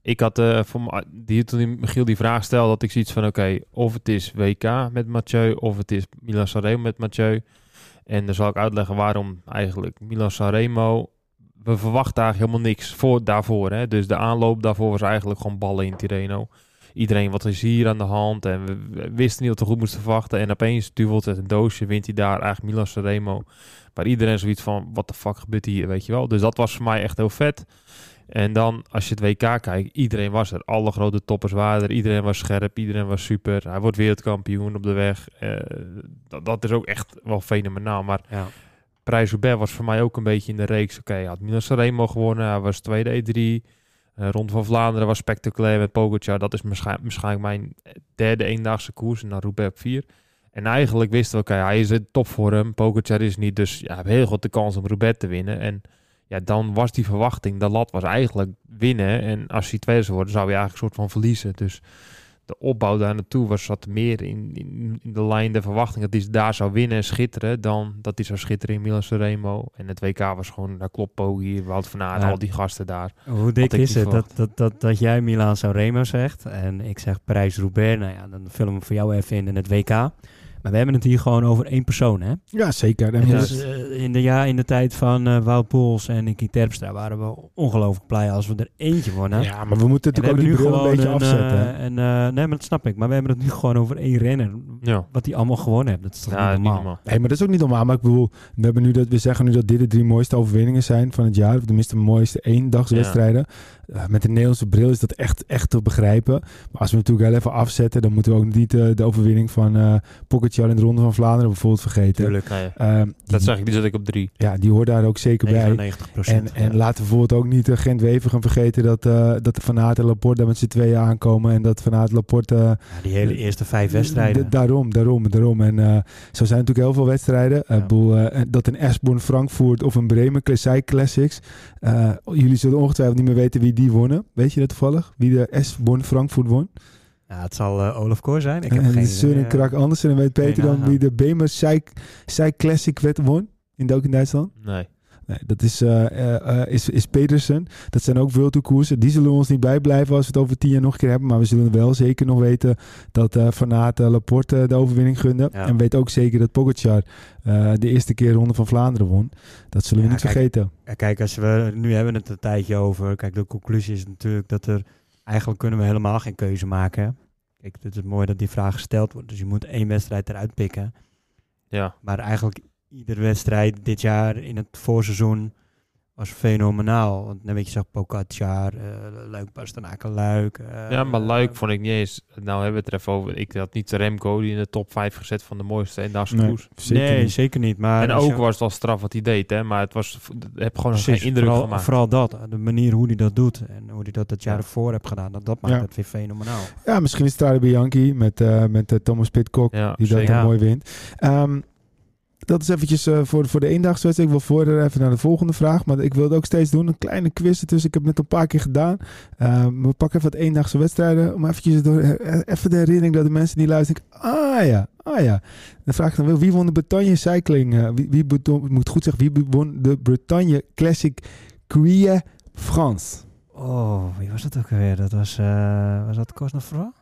Speaker 2: ik had, eh, voor me- die, toen die- Michiel die vraag stelde, had ik zoiets van... Oké, of het is WK met Mathieu, of het is Milan Sanremo met Mathieu. En dan zal ik uitleggen waarom eigenlijk Milan Sanremo... We verwachten eigenlijk helemaal niks voor, daarvoor. Hè? Dus de aanloop daarvoor was eigenlijk gewoon ballen in Tireno. Iedereen, wat is hier aan de hand? En we, we wisten niet wat we goed moesten verwachten. En opeens duwelt het een doosje, wint hij daar eigenlijk Milan Sanremo. Waar iedereen zoiets van, wat de fuck gebeurt hier, weet je wel. Dus dat was voor mij echt heel vet. En dan, als je het WK kijkt, iedereen was er. Alle grote toppers waren er. Iedereen was scherp, iedereen was super. Hij wordt wereldkampioen op de weg. Eh, dat, dat is ook echt wel fenomenaal. Maar
Speaker 3: Ja.
Speaker 2: Prijs Roubaix was voor mij ook een beetje in de reeks. Oké, hij had Milan Sanremo gewonnen. Hij was tweede E E3. Eh, Ronde van Vlaanderen was spectaculair met Pogacar. Dat is waarschijn- waarschijnlijk mijn derde eendaagse koers. En dan Roubaix op vier. En eigenlijk wisten we, oké, hij is in topvorm. Pogacar is niet. Dus ja, hij heeft heel goed de kans om Roubaix te winnen. En ja, dan was die verwachting. De lat was eigenlijk winnen. En als hij tweede zou worden, zou hij eigenlijk een soort van verliezen. Dus de opbouw daar naartoe was wat meer in, in, in de lijn der verwachting dat hij daar zou winnen en schitteren dan dat hij zou schitteren in Milan Sanremo. En het WK was gewoon, daar klopt Poggi, Wout van Aert,
Speaker 3: Ja.
Speaker 2: al die gasten daar.
Speaker 3: Hoe dik
Speaker 2: ik
Speaker 3: is
Speaker 2: niet
Speaker 3: het dat, dat, dat, dat jij Milaan Sanremo zegt en ik zeg Parijs-Roubaix. Nou ja, dan vullen we hem voor jou even in in het WK. Maar we hebben het hier gewoon over één persoon, hè?
Speaker 1: Ja, zeker. En
Speaker 3: En
Speaker 2: Ja.
Speaker 1: dus-
Speaker 3: dus, eh, in, de, ja, in de tijd van eh Wout Poels en Nicky Terpstra waren we ongelooflijk blij als we er eentje wonnen. En
Speaker 1: ja, maar we moeten
Speaker 3: we
Speaker 1: natuurlijk ook die bril een beetje afzetten. hè.
Speaker 3: eh, een, eh, nee, maar dat snap ik. Maar we hebben het nu gewoon over één renner.
Speaker 2: Ja,
Speaker 3: Wat die allemaal gewonnen hebben. Dat is toch
Speaker 2: ja
Speaker 3: niet normaal?
Speaker 1: Nee, maar dat is ook niet normaal. Maar ik bedoel, we, hebben nu dat, we zeggen nu dat dit de drie mooiste overwinningen zijn van het jaar. Of tenminste de mooiste eendagswedstrijden. Eh, met de Nederlandse bril is dat echt, echt te begrijpen. Maar als we hem natuurlijk heel even afzetten, dan moeten we ook niet eh, de overwinning van eh Pogacar in de Ronde van Vlaanderen bijvoorbeeld vergeten.
Speaker 2: Tuurlijk. Nee,
Speaker 1: Ehm, die,
Speaker 2: dat zag ik, die zat ik op drie.
Speaker 1: Ja, die hoort daar ook zeker bij.
Speaker 3: 99
Speaker 1: En, en laten we bijvoorbeeld ook niet eh, Gent Wever gaan vergeten dat, eh dat Van Aert en Laporte daar met z'n tweeën aankomen. En dat Van Aert en Laporte eh,
Speaker 3: die hele eerste vijf wedstrijden.
Speaker 1: D- Daarom, daarom, daarom. En eh, zo zijn natuurlijk heel veel wedstrijden. Eh,
Speaker 3: Ja.
Speaker 1: ik bedoel, eh, dat een Esborn Frankfurt of een Bremen Klessai Classics. eh, jullie zullen ongetwijfeld niet meer weten wie die wonnen. Weet je dat toevallig? Wie de Esborn Frankfurt won?
Speaker 3: Ja, het zal eh, Olaf Koor zijn. Ik heb
Speaker 1: en
Speaker 3: geen
Speaker 1: de Søren
Speaker 3: idee.
Speaker 1: Krak Andersen. En weet
Speaker 3: Kan je
Speaker 1: Peter dan
Speaker 3: nagaan.
Speaker 1: wie de Bremen Sai Classic wed- won? In, ook in Duitsland?
Speaker 2: Nee.
Speaker 1: Nee, dat is, eh, eh, eh, is, is Pedersen. Dat zijn ook World Tour koersen. Die zullen we ons niet bijblijven als we het over tien jaar nog een keer hebben. Maar we zullen wel zeker nog weten dat eh Van Aert eh, Laporte eh, de overwinning gunde.
Speaker 3: Ja.
Speaker 1: En we weten ook zeker dat Pogacar eh, de eerste keer Ronde van Vlaanderen won. Dat zullen we
Speaker 3: Ja,
Speaker 1: niet
Speaker 3: kijk,
Speaker 1: vergeten.
Speaker 3: Ja, Kijk, als we, nu hebben we het een tijdje over. Kijk, de conclusie is natuurlijk dat er... Eigenlijk kunnen we helemaal geen keuze maken. Kijk, het is mooi dat die vraag gesteld wordt. Dus je moet één wedstrijd eruit pikken.
Speaker 2: Ja,
Speaker 3: Maar eigenlijk iedere wedstrijd dit jaar in het voorseizoen was fenomenaal. Want dan weet je, zag Pogacar, eh Luik, Bastenaken, Luik. eh,
Speaker 2: ja maar Luik vond ik niet eens... Nou hebben we het er even over. Ik had niet Remco die in de top 5 gezet van de mooiste eendagse
Speaker 1: Nee,
Speaker 2: koers.
Speaker 1: zeker
Speaker 3: nee, dus
Speaker 1: niet.
Speaker 3: eh, zeker niet. Maar
Speaker 2: en
Speaker 3: als
Speaker 2: ook
Speaker 3: je-
Speaker 2: was het al straf wat hij deed, hè. Maar het was... Het heb gewoon nog geen
Speaker 3: Precies,
Speaker 2: indruk
Speaker 3: vooral,
Speaker 2: gemaakt.
Speaker 3: vooral dat. De manier hoe hij dat doet en hoe hij dat het jaar
Speaker 2: Ja.
Speaker 3: ervoor heeft gedaan. Dat, dat maakt
Speaker 1: Ja.
Speaker 3: het weer fenomenaal.
Speaker 1: Ja, misschien is Strade Bianchi met, eh, met eh, Thomas Pitcock.
Speaker 2: Ja,
Speaker 1: Die dat
Speaker 2: zeker.
Speaker 1: dan
Speaker 3: Ja.
Speaker 1: mooi wint. Ehm, dat is eventjes eh, voor, voor de eendagswedstrijd. Ik wil voor even naar de volgende vraag. Maar ik wil het ook steeds doen. Een kleine quiz ertussen. Ik heb het net een paar keer gedaan. Ehm, we pakken even wat eendagse wedstrijden. Om eventjes door, eh, even de herinnering dat de mensen die luisteren. denken, Ah ja, ah ja. Dan vraag ik dan wel. Wie won de Bretagne Cycling? eh, wie, wie beton- ik moet goed zeggen. Wie won de Bretagne Classic Curie France?
Speaker 3: Oh, wie was dat ook alweer? Dat was, eh, was dat Cosnefra?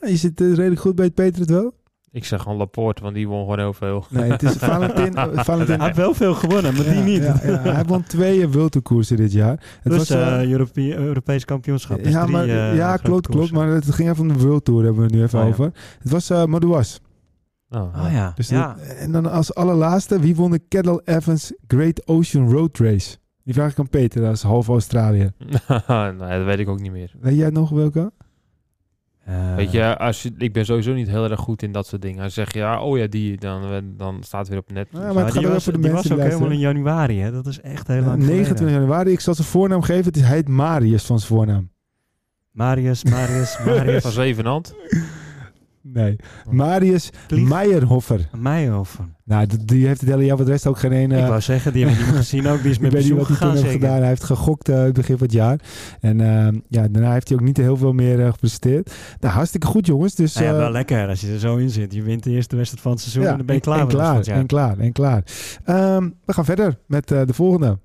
Speaker 1: Ah, Je zit eh, redelijk goed bij het Peter het wel.
Speaker 2: Ik zeg gewoon Laporte, want die won gewoon heel veel.
Speaker 1: Nee, het is Valentin. eh, Valentin
Speaker 3: Hij had wel veel gewonnen, maar die
Speaker 1: Ja,
Speaker 3: niet.
Speaker 1: ja, ja. Hij won twee eh, wildekoersen dit jaar. Het
Speaker 3: Het was
Speaker 1: eh,
Speaker 3: eh Europee- Europees kampioenschap. Dus
Speaker 1: ja,
Speaker 3: drie,
Speaker 1: maar,
Speaker 3: eh,
Speaker 1: ja
Speaker 3: grote
Speaker 1: klopt, klopt.
Speaker 3: koersen.
Speaker 1: Maar het ging even om de World Tour, hebben we het nu even
Speaker 3: Oh, ja.
Speaker 1: over. Het was eh Madouas.
Speaker 2: Oh,
Speaker 3: Oh ja,
Speaker 1: Dus
Speaker 3: ja.
Speaker 1: de- en dan als allerlaatste, wie won de Kettle Evans Great Ocean Road Race? Die vraag ik aan Peter, dat is half Australië.
Speaker 2: nee, Nou dat weet ik ook niet meer.
Speaker 1: Weet jij nog welke?
Speaker 3: Eh,
Speaker 2: Weet je, als je, ik ben sowieso niet heel erg goed in dat soort dingen. Als je zegt, ja, oh ja, die, dan, dan staat het weer op net.
Speaker 1: Ja, maar het
Speaker 3: maar
Speaker 1: gaat
Speaker 3: die
Speaker 1: wel
Speaker 3: was,
Speaker 1: voor de
Speaker 3: die
Speaker 1: mensen
Speaker 3: was
Speaker 1: die
Speaker 3: ook helemaal in
Speaker 1: luisteren.
Speaker 3: januari, hè? Dat is echt heel lang
Speaker 1: 29
Speaker 3: geleden.
Speaker 1: Eh, januari. Ik zal zijn voornaam geven. Het is, hij heet Marius van zijn voornaam.
Speaker 3: Marius, Marius, Marius.
Speaker 2: Van Zevenhand.
Speaker 1: Nee.
Speaker 3: Oh.
Speaker 1: Marius
Speaker 3: Klieg.
Speaker 1: Meijerhoffer.
Speaker 3: Meijerhoven.
Speaker 1: Nou, d- die heeft het hele jaar voor de rest ook geen eh, ene...
Speaker 3: ik wou zeggen, die hebben we niet meer gezien ook. Die is
Speaker 1: Ik
Speaker 3: met
Speaker 1: weet niet
Speaker 3: pensioen
Speaker 1: wat hij toen
Speaker 3: gegaan
Speaker 1: heeft
Speaker 3: zeker.
Speaker 1: gedaan. Hij heeft gegokt eh, het begin van het jaar. En eh, ja, daarna heeft hij ook niet heel veel meer eh, gepresteerd. Nou, hartstikke goed jongens. Dus,
Speaker 3: Nou ja,
Speaker 1: eh,
Speaker 3: wel lekker als je er zo in zit. Je wint de eerste wedstrijd van het seizoen
Speaker 1: ja,
Speaker 3: en dan ben je
Speaker 1: en-
Speaker 3: klaar
Speaker 1: en
Speaker 3: voor de rest
Speaker 1: klaar,
Speaker 3: van het jaar.
Speaker 1: en klaar, en klaar. Ehm, we gaan verder met eh, de volgende.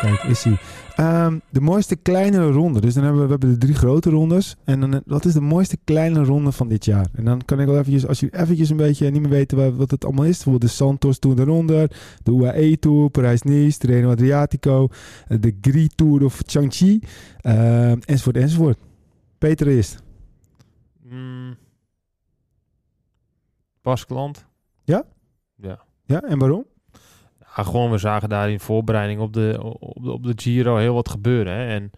Speaker 1: Kijk, is hij. de mooiste kleinere ronde. Dus dan hebben we, we hebben de drie grote rondes. En dan, eh, wat is de mooiste kleine ronde van dit jaar? En dan kan ik wel eventjes, als jullie eventjes een beetje niet meer weten wa- wat het allemaal is. Bijvoorbeeld de Santos Tour eronder. De UAE Tour, Parijs-Nice, de Reno Adriatico. eh, De Gris Tour of Changchi. ehm enzovoort, enzovoort. Peter is.
Speaker 2: Mm. Baskeland.
Speaker 1: Ja, en waarom?
Speaker 2: Ja, gewoon, we zagen daar in voorbereiding op de, op de, op de Giro heel wat gebeuren. Hè. En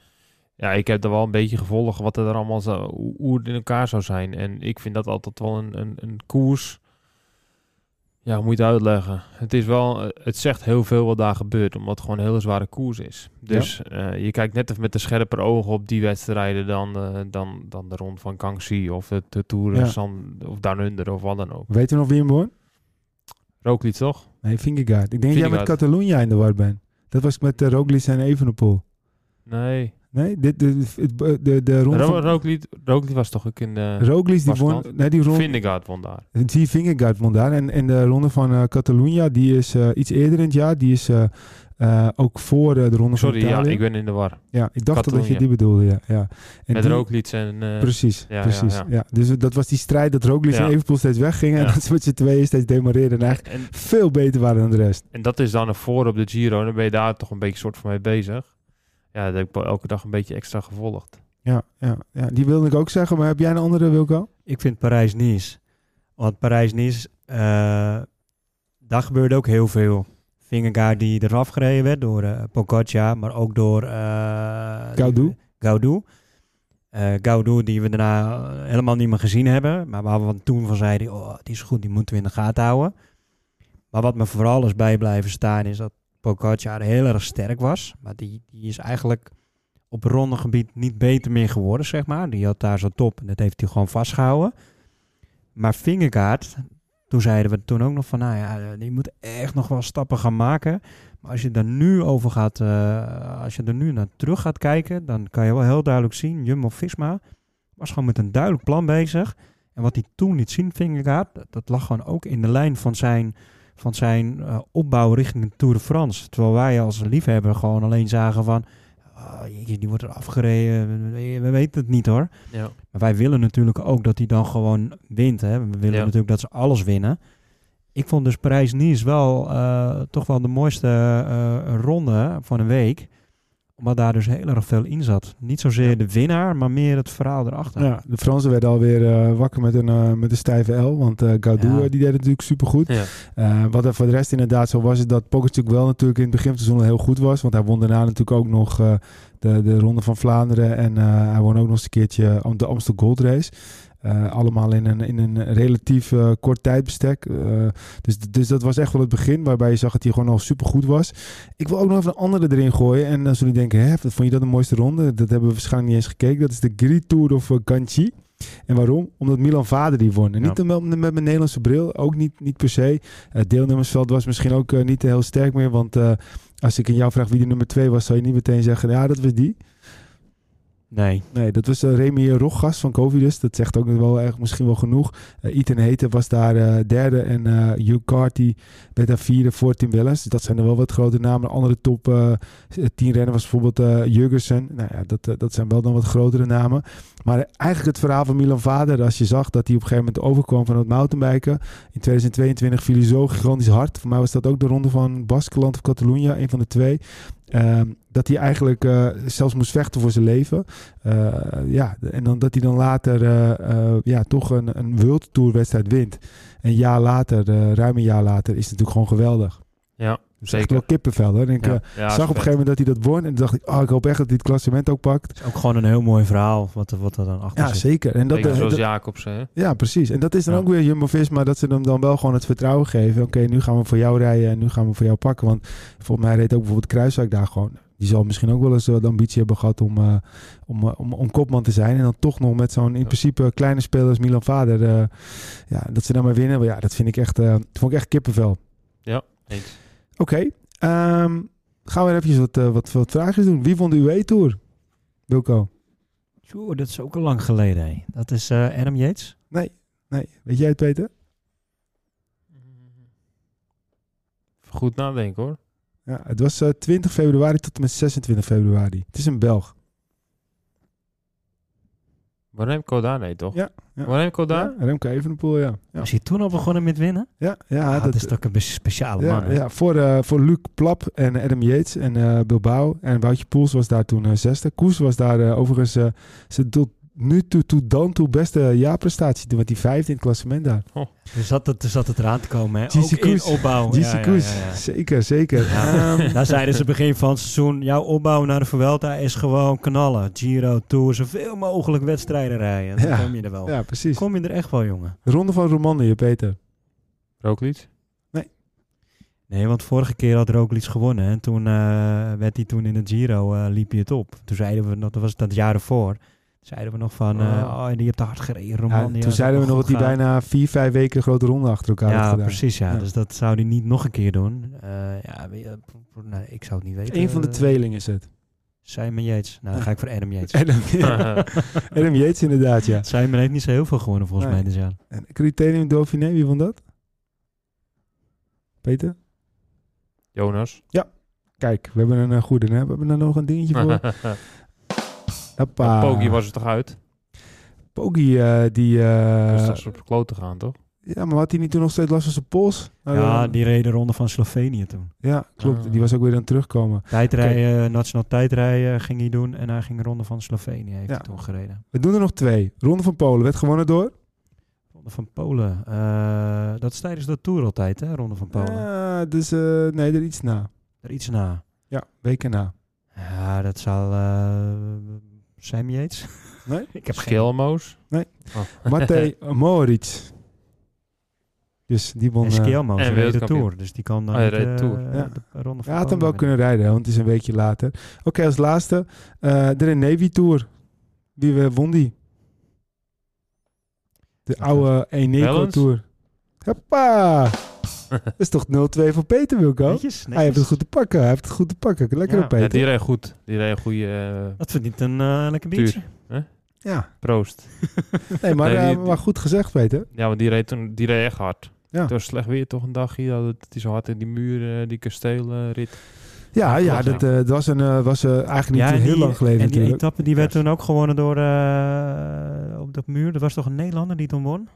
Speaker 2: ja, ik heb er wel een beetje gevolgd wat er allemaal zou, hoe, hoe het in elkaar zou zijn. En ik vind dat altijd wel een, een, een koers. Ja, hoe moet je het uitleggen? Het is wel, eh, het zegt heel veel wat daar gebeurt, omdat het gewoon een hele zware koers is. Dus eh, je kijkt net even met de scherper ogen op die wedstrijden dan, eh, dan, dan de rond van Kangxi of de, de Tour
Speaker 1: Ja.
Speaker 2: San- of Down Under of wat dan ook.
Speaker 1: Weet je nog wie hem won?
Speaker 2: Rooklied toch?
Speaker 1: Nee, Vingegaard. Ik denk dat jij met
Speaker 2: Vingegaard.
Speaker 1: Catalonia in de war bent. Dat was met uh, Roglic en eh, Evenepoel.
Speaker 2: Nee.
Speaker 1: Nee, dit, de, de, de, de ronde
Speaker 2: Ro
Speaker 1: van...
Speaker 2: Roglic, Roglic was toch ook in de...
Speaker 1: Roglic, die won...
Speaker 2: Barcelona.
Speaker 1: Nee, die ronde...
Speaker 2: Vindegaard won daar.
Speaker 1: Die Vingegaard won daar. En, en de ronde van eh Catalunya, die is eh, iets eerder in het jaar. Die is eh, eh, ook voor eh, de ronde
Speaker 2: Sorry,
Speaker 1: van
Speaker 2: ja,
Speaker 1: Italië.
Speaker 2: ik ben in de war.
Speaker 1: ja, ik dacht al dat je
Speaker 2: Catalunya.
Speaker 1: die bedoelde, ja. ja. En
Speaker 2: Met
Speaker 1: die-
Speaker 2: Roglic en... eh,
Speaker 1: Precies,
Speaker 2: ja,
Speaker 1: precies. Ja,
Speaker 2: ja, ja.
Speaker 1: Dus dat was die strijd dat Roglic
Speaker 2: Ja.
Speaker 1: en Evenpoel steeds weggingen. En
Speaker 2: Ja.
Speaker 1: dat ze met z'n tweeën steeds demareerden. En eigenlijk
Speaker 2: en,
Speaker 1: veel beter waren dan de rest.
Speaker 2: en dat is dan een voor op de Giro. En dan ben je daar toch een beetje soort van mee bezig. Ja, dat heb ik wel elke dag een beetje extra gevolgd.
Speaker 1: Ja, ja, ja, die wilde ik ook zeggen. Maar heb jij een andere, Wilco?
Speaker 3: Ik vind Parijs-Nice. Want Parijs-Nice, eh, daar gebeurde ook heel veel. Vingergaard die eraf gereden werd door eh Pogacar, maar ook door... eh,
Speaker 1: Gaudu.
Speaker 3: Gaudu. Eh, Gaudu, die we daarna eh, helemaal niet meer gezien hebben. Maar waar we toen van zeiden, oh, die is goed, die moeten we in de gaten houden. Maar wat me vooral is bij blijven staan, is dat Pogacar heel erg sterk was. Maar die, die is eigenlijk op rondegebied niet beter meer geworden, zeg maar. Die had daar zo'n top en dat heeft hij gewoon vastgehouden. Maar Vingegaard, toen zeiden we toen ook nog van, nou ja, die moet echt nog wel stappen gaan maken. Maar als je daar nu over gaat, eh, als je er nu naar terug gaat kijken, dan kan je wel heel duidelijk zien, Jumbo-Visma was gewoon met een duidelijk plan bezig. En wat hij toen liet zien, Vingegaard, dat, dat lag gewoon ook in de lijn van zijn, van zijn eh, opbouw richting de Tour de France. Terwijl wij als liefhebber gewoon alleen zagen van, "Ah, jeetje, die wordt er afgereden, we, we weten het niet hoor.
Speaker 2: Ja.
Speaker 3: Maar wij willen natuurlijk ook dat hij dan gewoon wint. Hè? We willen
Speaker 2: Ja.
Speaker 3: natuurlijk dat ze alles winnen. Ik vond dus Parijs-Nice wel eh, toch wel de mooiste eh, ronde van een week. Omdat daar dus heel erg veel in zat. Niet zozeer de winnaar, maar meer het verhaal erachter.
Speaker 1: Ja, de Fransen werden alweer eh, wakker met een, eh, met een stijve L. Want eh Gaudu
Speaker 3: Ja.
Speaker 1: eh, die deed het natuurlijk supergoed.
Speaker 2: Ja.
Speaker 1: Eh, wat er voor de rest inderdaad zo was, is dat Pogacar wel natuurlijk in het begin van het seizoen heel goed was. Want hij won daarna natuurlijk ook nog eh, de, de Ronde van Vlaanderen. En eh, hij won ook nog eens een keertje Am- de Amstel Gold Race. Eh, allemaal in een, in een relatief eh, kort tijdbestek. Eh, dus, dus dat was echt wel het begin, waarbij je zag dat hij gewoon al supergoed was. Ik wil ook nog even een andere erin gooien. En dan zullen jullie denken, hè, vond je dat de mooiste ronde? Dat hebben we waarschijnlijk niet eens gekeken. Dat is de Grid Tour of eh, Ganchi. En waarom? Omdat Milan Vader die won. En
Speaker 2: Ja.
Speaker 1: niet om- om- met mijn Nederlandse bril, ook niet, niet per se. Het Eh, deelnemersveld was misschien ook eh, niet heel sterk meer. Want eh, als ik in jou vraag wie de nummer twee was, zou je niet meteen zeggen, ja, dat was die.
Speaker 3: Nee.
Speaker 1: Nee, dat was eh, Remy Roggas van Covidus. Dat zegt ook wel erg, misschien wel genoeg. Eh Ethan Heten was daar eh, derde. En eh Hugh Carty werd daar vierde voor Tim Wellens. Dus dat zijn er wel wat grote namen. Een andere top eh tien renner was bijvoorbeeld eh Jurgensen. Nou ja, dat, eh, dat zijn wel dan wat grotere namen. Maar eigenlijk het verhaal van Milan Vader. Als je zag dat hij op een gegeven moment overkwam van het mountainbiken. In 2022 viel hij zo gigantisch hard. Voor mij was dat ook de ronde van Baskeland of Catalunya. Een van de twee. Ehm, dat hij eigenlijk eh, zelfs moest vechten voor zijn leven. Eh, ja, en dan, dat hij dan later eh, eh, ja, toch een, een World Tour wedstrijd wint. Een jaar later, eh, ruim een jaar later, is het natuurlijk gewoon geweldig.
Speaker 2: Ja,
Speaker 1: Dus echt
Speaker 2: Zeker.
Speaker 1: wel kippenvel. Hoor. En ik
Speaker 2: ja.
Speaker 1: eh,
Speaker 2: Ja,
Speaker 1: zag op een
Speaker 2: vet.
Speaker 1: gegeven moment dat hij dat won. En toen dacht ik, oh, ik hoop echt dat hij het klassement ook pakt.
Speaker 3: Het is ook gewoon een heel mooi verhaal wat, er- wat er dan achter
Speaker 1: Ja,
Speaker 3: zit.
Speaker 1: zeker. En dat,
Speaker 2: Zeker
Speaker 1: eh,
Speaker 2: zoals
Speaker 1: dat-
Speaker 2: Jacobsen, hè?
Speaker 1: ja, precies. En dat is dan
Speaker 2: Ja.
Speaker 1: ook weer Jumbo-Visma, dat ze hem dan wel gewoon het vertrouwen geven. Oké, nu gaan we voor jou rijden en nu gaan we voor jou pakken. Want volgens mij reed ook bijvoorbeeld Kruiswijk daar gewoon. Die zal misschien ook wel eens eh, de ambitie hebben gehad om, eh, om, eh, om, om kopman te zijn. En dan toch nog met zo'n in principe kleine speler als Milan Vader. eh, ja, dat ze dan maar winnen. Ja, dat vind ik echt, eh, dat vond ik echt kippenvel. Oké,
Speaker 2: Eens.
Speaker 1: ehm, gaan we even wat, eh, wat, wat vraagjes doen. Wie won de UE-tour? Wilco?
Speaker 3: Tjoe, dat is ook al lang geleden. hè. Dat is eh Adam Yates.
Speaker 1: Nee, weet jij het Peter?
Speaker 2: Even Goed nadenken, hoor.
Speaker 1: Ja, het was eh, 20 februari tot en met 26 februari. Het is een Belg.
Speaker 2: Remco daar, nee, toch?
Speaker 1: Ja, ja.
Speaker 2: Remco daar?
Speaker 1: Ja, Remco Evenepoel, ja. Ja,
Speaker 3: Is hij toen al begonnen met winnen?
Speaker 1: ja, ja,
Speaker 3: Ah, dat,
Speaker 1: dat,
Speaker 3: is toch een bes- speciale man.
Speaker 1: ja,
Speaker 3: hè?
Speaker 1: ja voor, eh, voor Luc Plap en Adam Yates en eh, Bilbao. En Woutje Poels was daar toen eh, zesde. Koes was daar eh, overigens eh zijn tot nu toe, toe dan toe beste jaarprestatie. Toen werd hij vijfde in het klassement daar.
Speaker 3: Er zat het, er zat het eraan te komen. Hè?
Speaker 1: GC
Speaker 3: Ook in
Speaker 1: Koes.
Speaker 3: opbouw.
Speaker 1: GC
Speaker 3: Oh, Ja, ja, ja,
Speaker 1: Koes,
Speaker 3: ja.
Speaker 1: zeker, zeker.
Speaker 3: Ja,
Speaker 1: Ehm,
Speaker 3: daar zeiden ze begin van het seizoen, jouw opbouw naar de Vuelta is gewoon knallen. Giro, Tour, zoveel mogelijk wedstrijden rijden. Dan
Speaker 1: Ja.
Speaker 3: kom je er wel.
Speaker 1: ja, precies.
Speaker 3: Kom je er echt wel, jongen.
Speaker 1: De Ronde van Romandie, Peter.
Speaker 2: Roglic?
Speaker 3: Nee, want vorige keer had Roglic gewonnen. hè. En toen eh, werd hij toen in de Giro, eh, liep hij het op. Toen zeiden we, nog- dat was dat jaar ervoor, Toen zeiden we nog van, eh,
Speaker 2: Oh.
Speaker 3: oh, die hebt te hard gereden,
Speaker 1: Ja,
Speaker 3: Romania.
Speaker 1: toen zeiden we nog dat hij bijna vier, vijf weken een grote ronde achter elkaar had
Speaker 3: Ja,
Speaker 1: gedaan.
Speaker 3: precies. Ja.
Speaker 1: Ja.
Speaker 3: Dus dat zou hij niet nog een keer doen. Eh, ja, we- eh, p- p- nee, ik zou het niet weten.
Speaker 1: Eén van de
Speaker 3: Eh,
Speaker 1: tweeling is het.
Speaker 3: Simon Yates. Nou, dan ga ik voor Adam Yates.
Speaker 1: Adam, Adam Yates inderdaad, ja.
Speaker 3: Simon heeft niet zo heel veel gewonnen volgens
Speaker 1: Nee.
Speaker 3: mij dit jaar.
Speaker 1: En Criterium Dauphiné, wie won dat? Peter?
Speaker 2: Jonas.
Speaker 1: Kijk, we hebben een eh, goede. Hè? We hebben er nog een dingetje voor. Hoppa.
Speaker 2: Pogi was er toch uit?
Speaker 1: Eh, Poggi, eh, die... eh,
Speaker 2: Dus dat is op de kloot te gaan, toch?
Speaker 1: ja, maar had hij niet toen nog steeds last van zijn pols? Nou,
Speaker 3: ja,
Speaker 1: dan-
Speaker 3: die reed de ronde van Slovenië toen.
Speaker 1: ja, klopt.
Speaker 2: Ah.
Speaker 1: Die was ook weer aan het terugkomen.
Speaker 3: Tijdrijden, nationaal tijdrijden ging hij doen. En hij ging de ronde van Slovenië, heeft
Speaker 1: Ja.
Speaker 3: hij toen gereden.
Speaker 1: We doen er nog twee. Ronde van Polen werd gewonnen door...
Speaker 3: Ronde van Polen. eh, dat is tijdens de Tour altijd, hè? Ronde van Polen.
Speaker 1: Ja, dus eh, nee, er iets na.
Speaker 3: Er iets na.
Speaker 1: Ja, weken na.
Speaker 3: Ja, dat zal... eh Sam Yates?
Speaker 1: Nee?
Speaker 3: ik heb geen...
Speaker 2: Schelmoos.
Speaker 1: Matej Moric. Dus die won...
Speaker 3: En
Speaker 1: eh,
Speaker 3: Skelmo,
Speaker 2: En
Speaker 3: ze reed de
Speaker 2: wereldkampioen.
Speaker 3: Tour. Dus die kan dan
Speaker 2: Oh, hij
Speaker 3: niet,
Speaker 2: reed de
Speaker 3: eh,
Speaker 2: Tour.
Speaker 1: Ja.
Speaker 3: de Ronde van
Speaker 1: ja, had hem wel
Speaker 3: Polen winnen.
Speaker 1: kunnen rijden, hè, want het is een weekje later. Oké, als laatste. eh, de Navy Tour. Wie eh, won die? De oude Eneco
Speaker 2: Wellens?
Speaker 1: Tour. Hoppa! Dat is toch 0-2 voor Peter Wilco?
Speaker 3: Netjes,
Speaker 1: Hij heeft het
Speaker 3: netjes.
Speaker 1: goed te pakken. Hij heeft het goed te pakken. Lekker
Speaker 3: Ja.
Speaker 1: op
Speaker 2: Ja,
Speaker 1: Peter.
Speaker 2: die reed goed. Die reed een goede eh,
Speaker 3: Dat verdient een eh, lekker
Speaker 2: Tuur.
Speaker 3: biertje.
Speaker 1: Ja,
Speaker 2: proost.
Speaker 1: nee, maar,
Speaker 2: Nee, die-
Speaker 1: eh, maar goed gezegd, Peter.
Speaker 2: Ja, want die reed, toen, die reed echt hard.
Speaker 1: Ja.
Speaker 2: Het was slecht weer toch een dagje. Dat het- die zo hard in die muren, eh, die kastelenrit.
Speaker 1: Ja, ja,
Speaker 2: klopt,
Speaker 1: dat eh, dat was, een, eh, was eh, eigenlijk niet
Speaker 3: en
Speaker 1: heel
Speaker 3: die-
Speaker 1: lang geleden
Speaker 3: En die
Speaker 1: natuurlijk.
Speaker 3: etappe die werd
Speaker 2: Ja.
Speaker 3: toen ook gewonnen door... eh, op dat muur. Er was toch een Nederlander die toen won?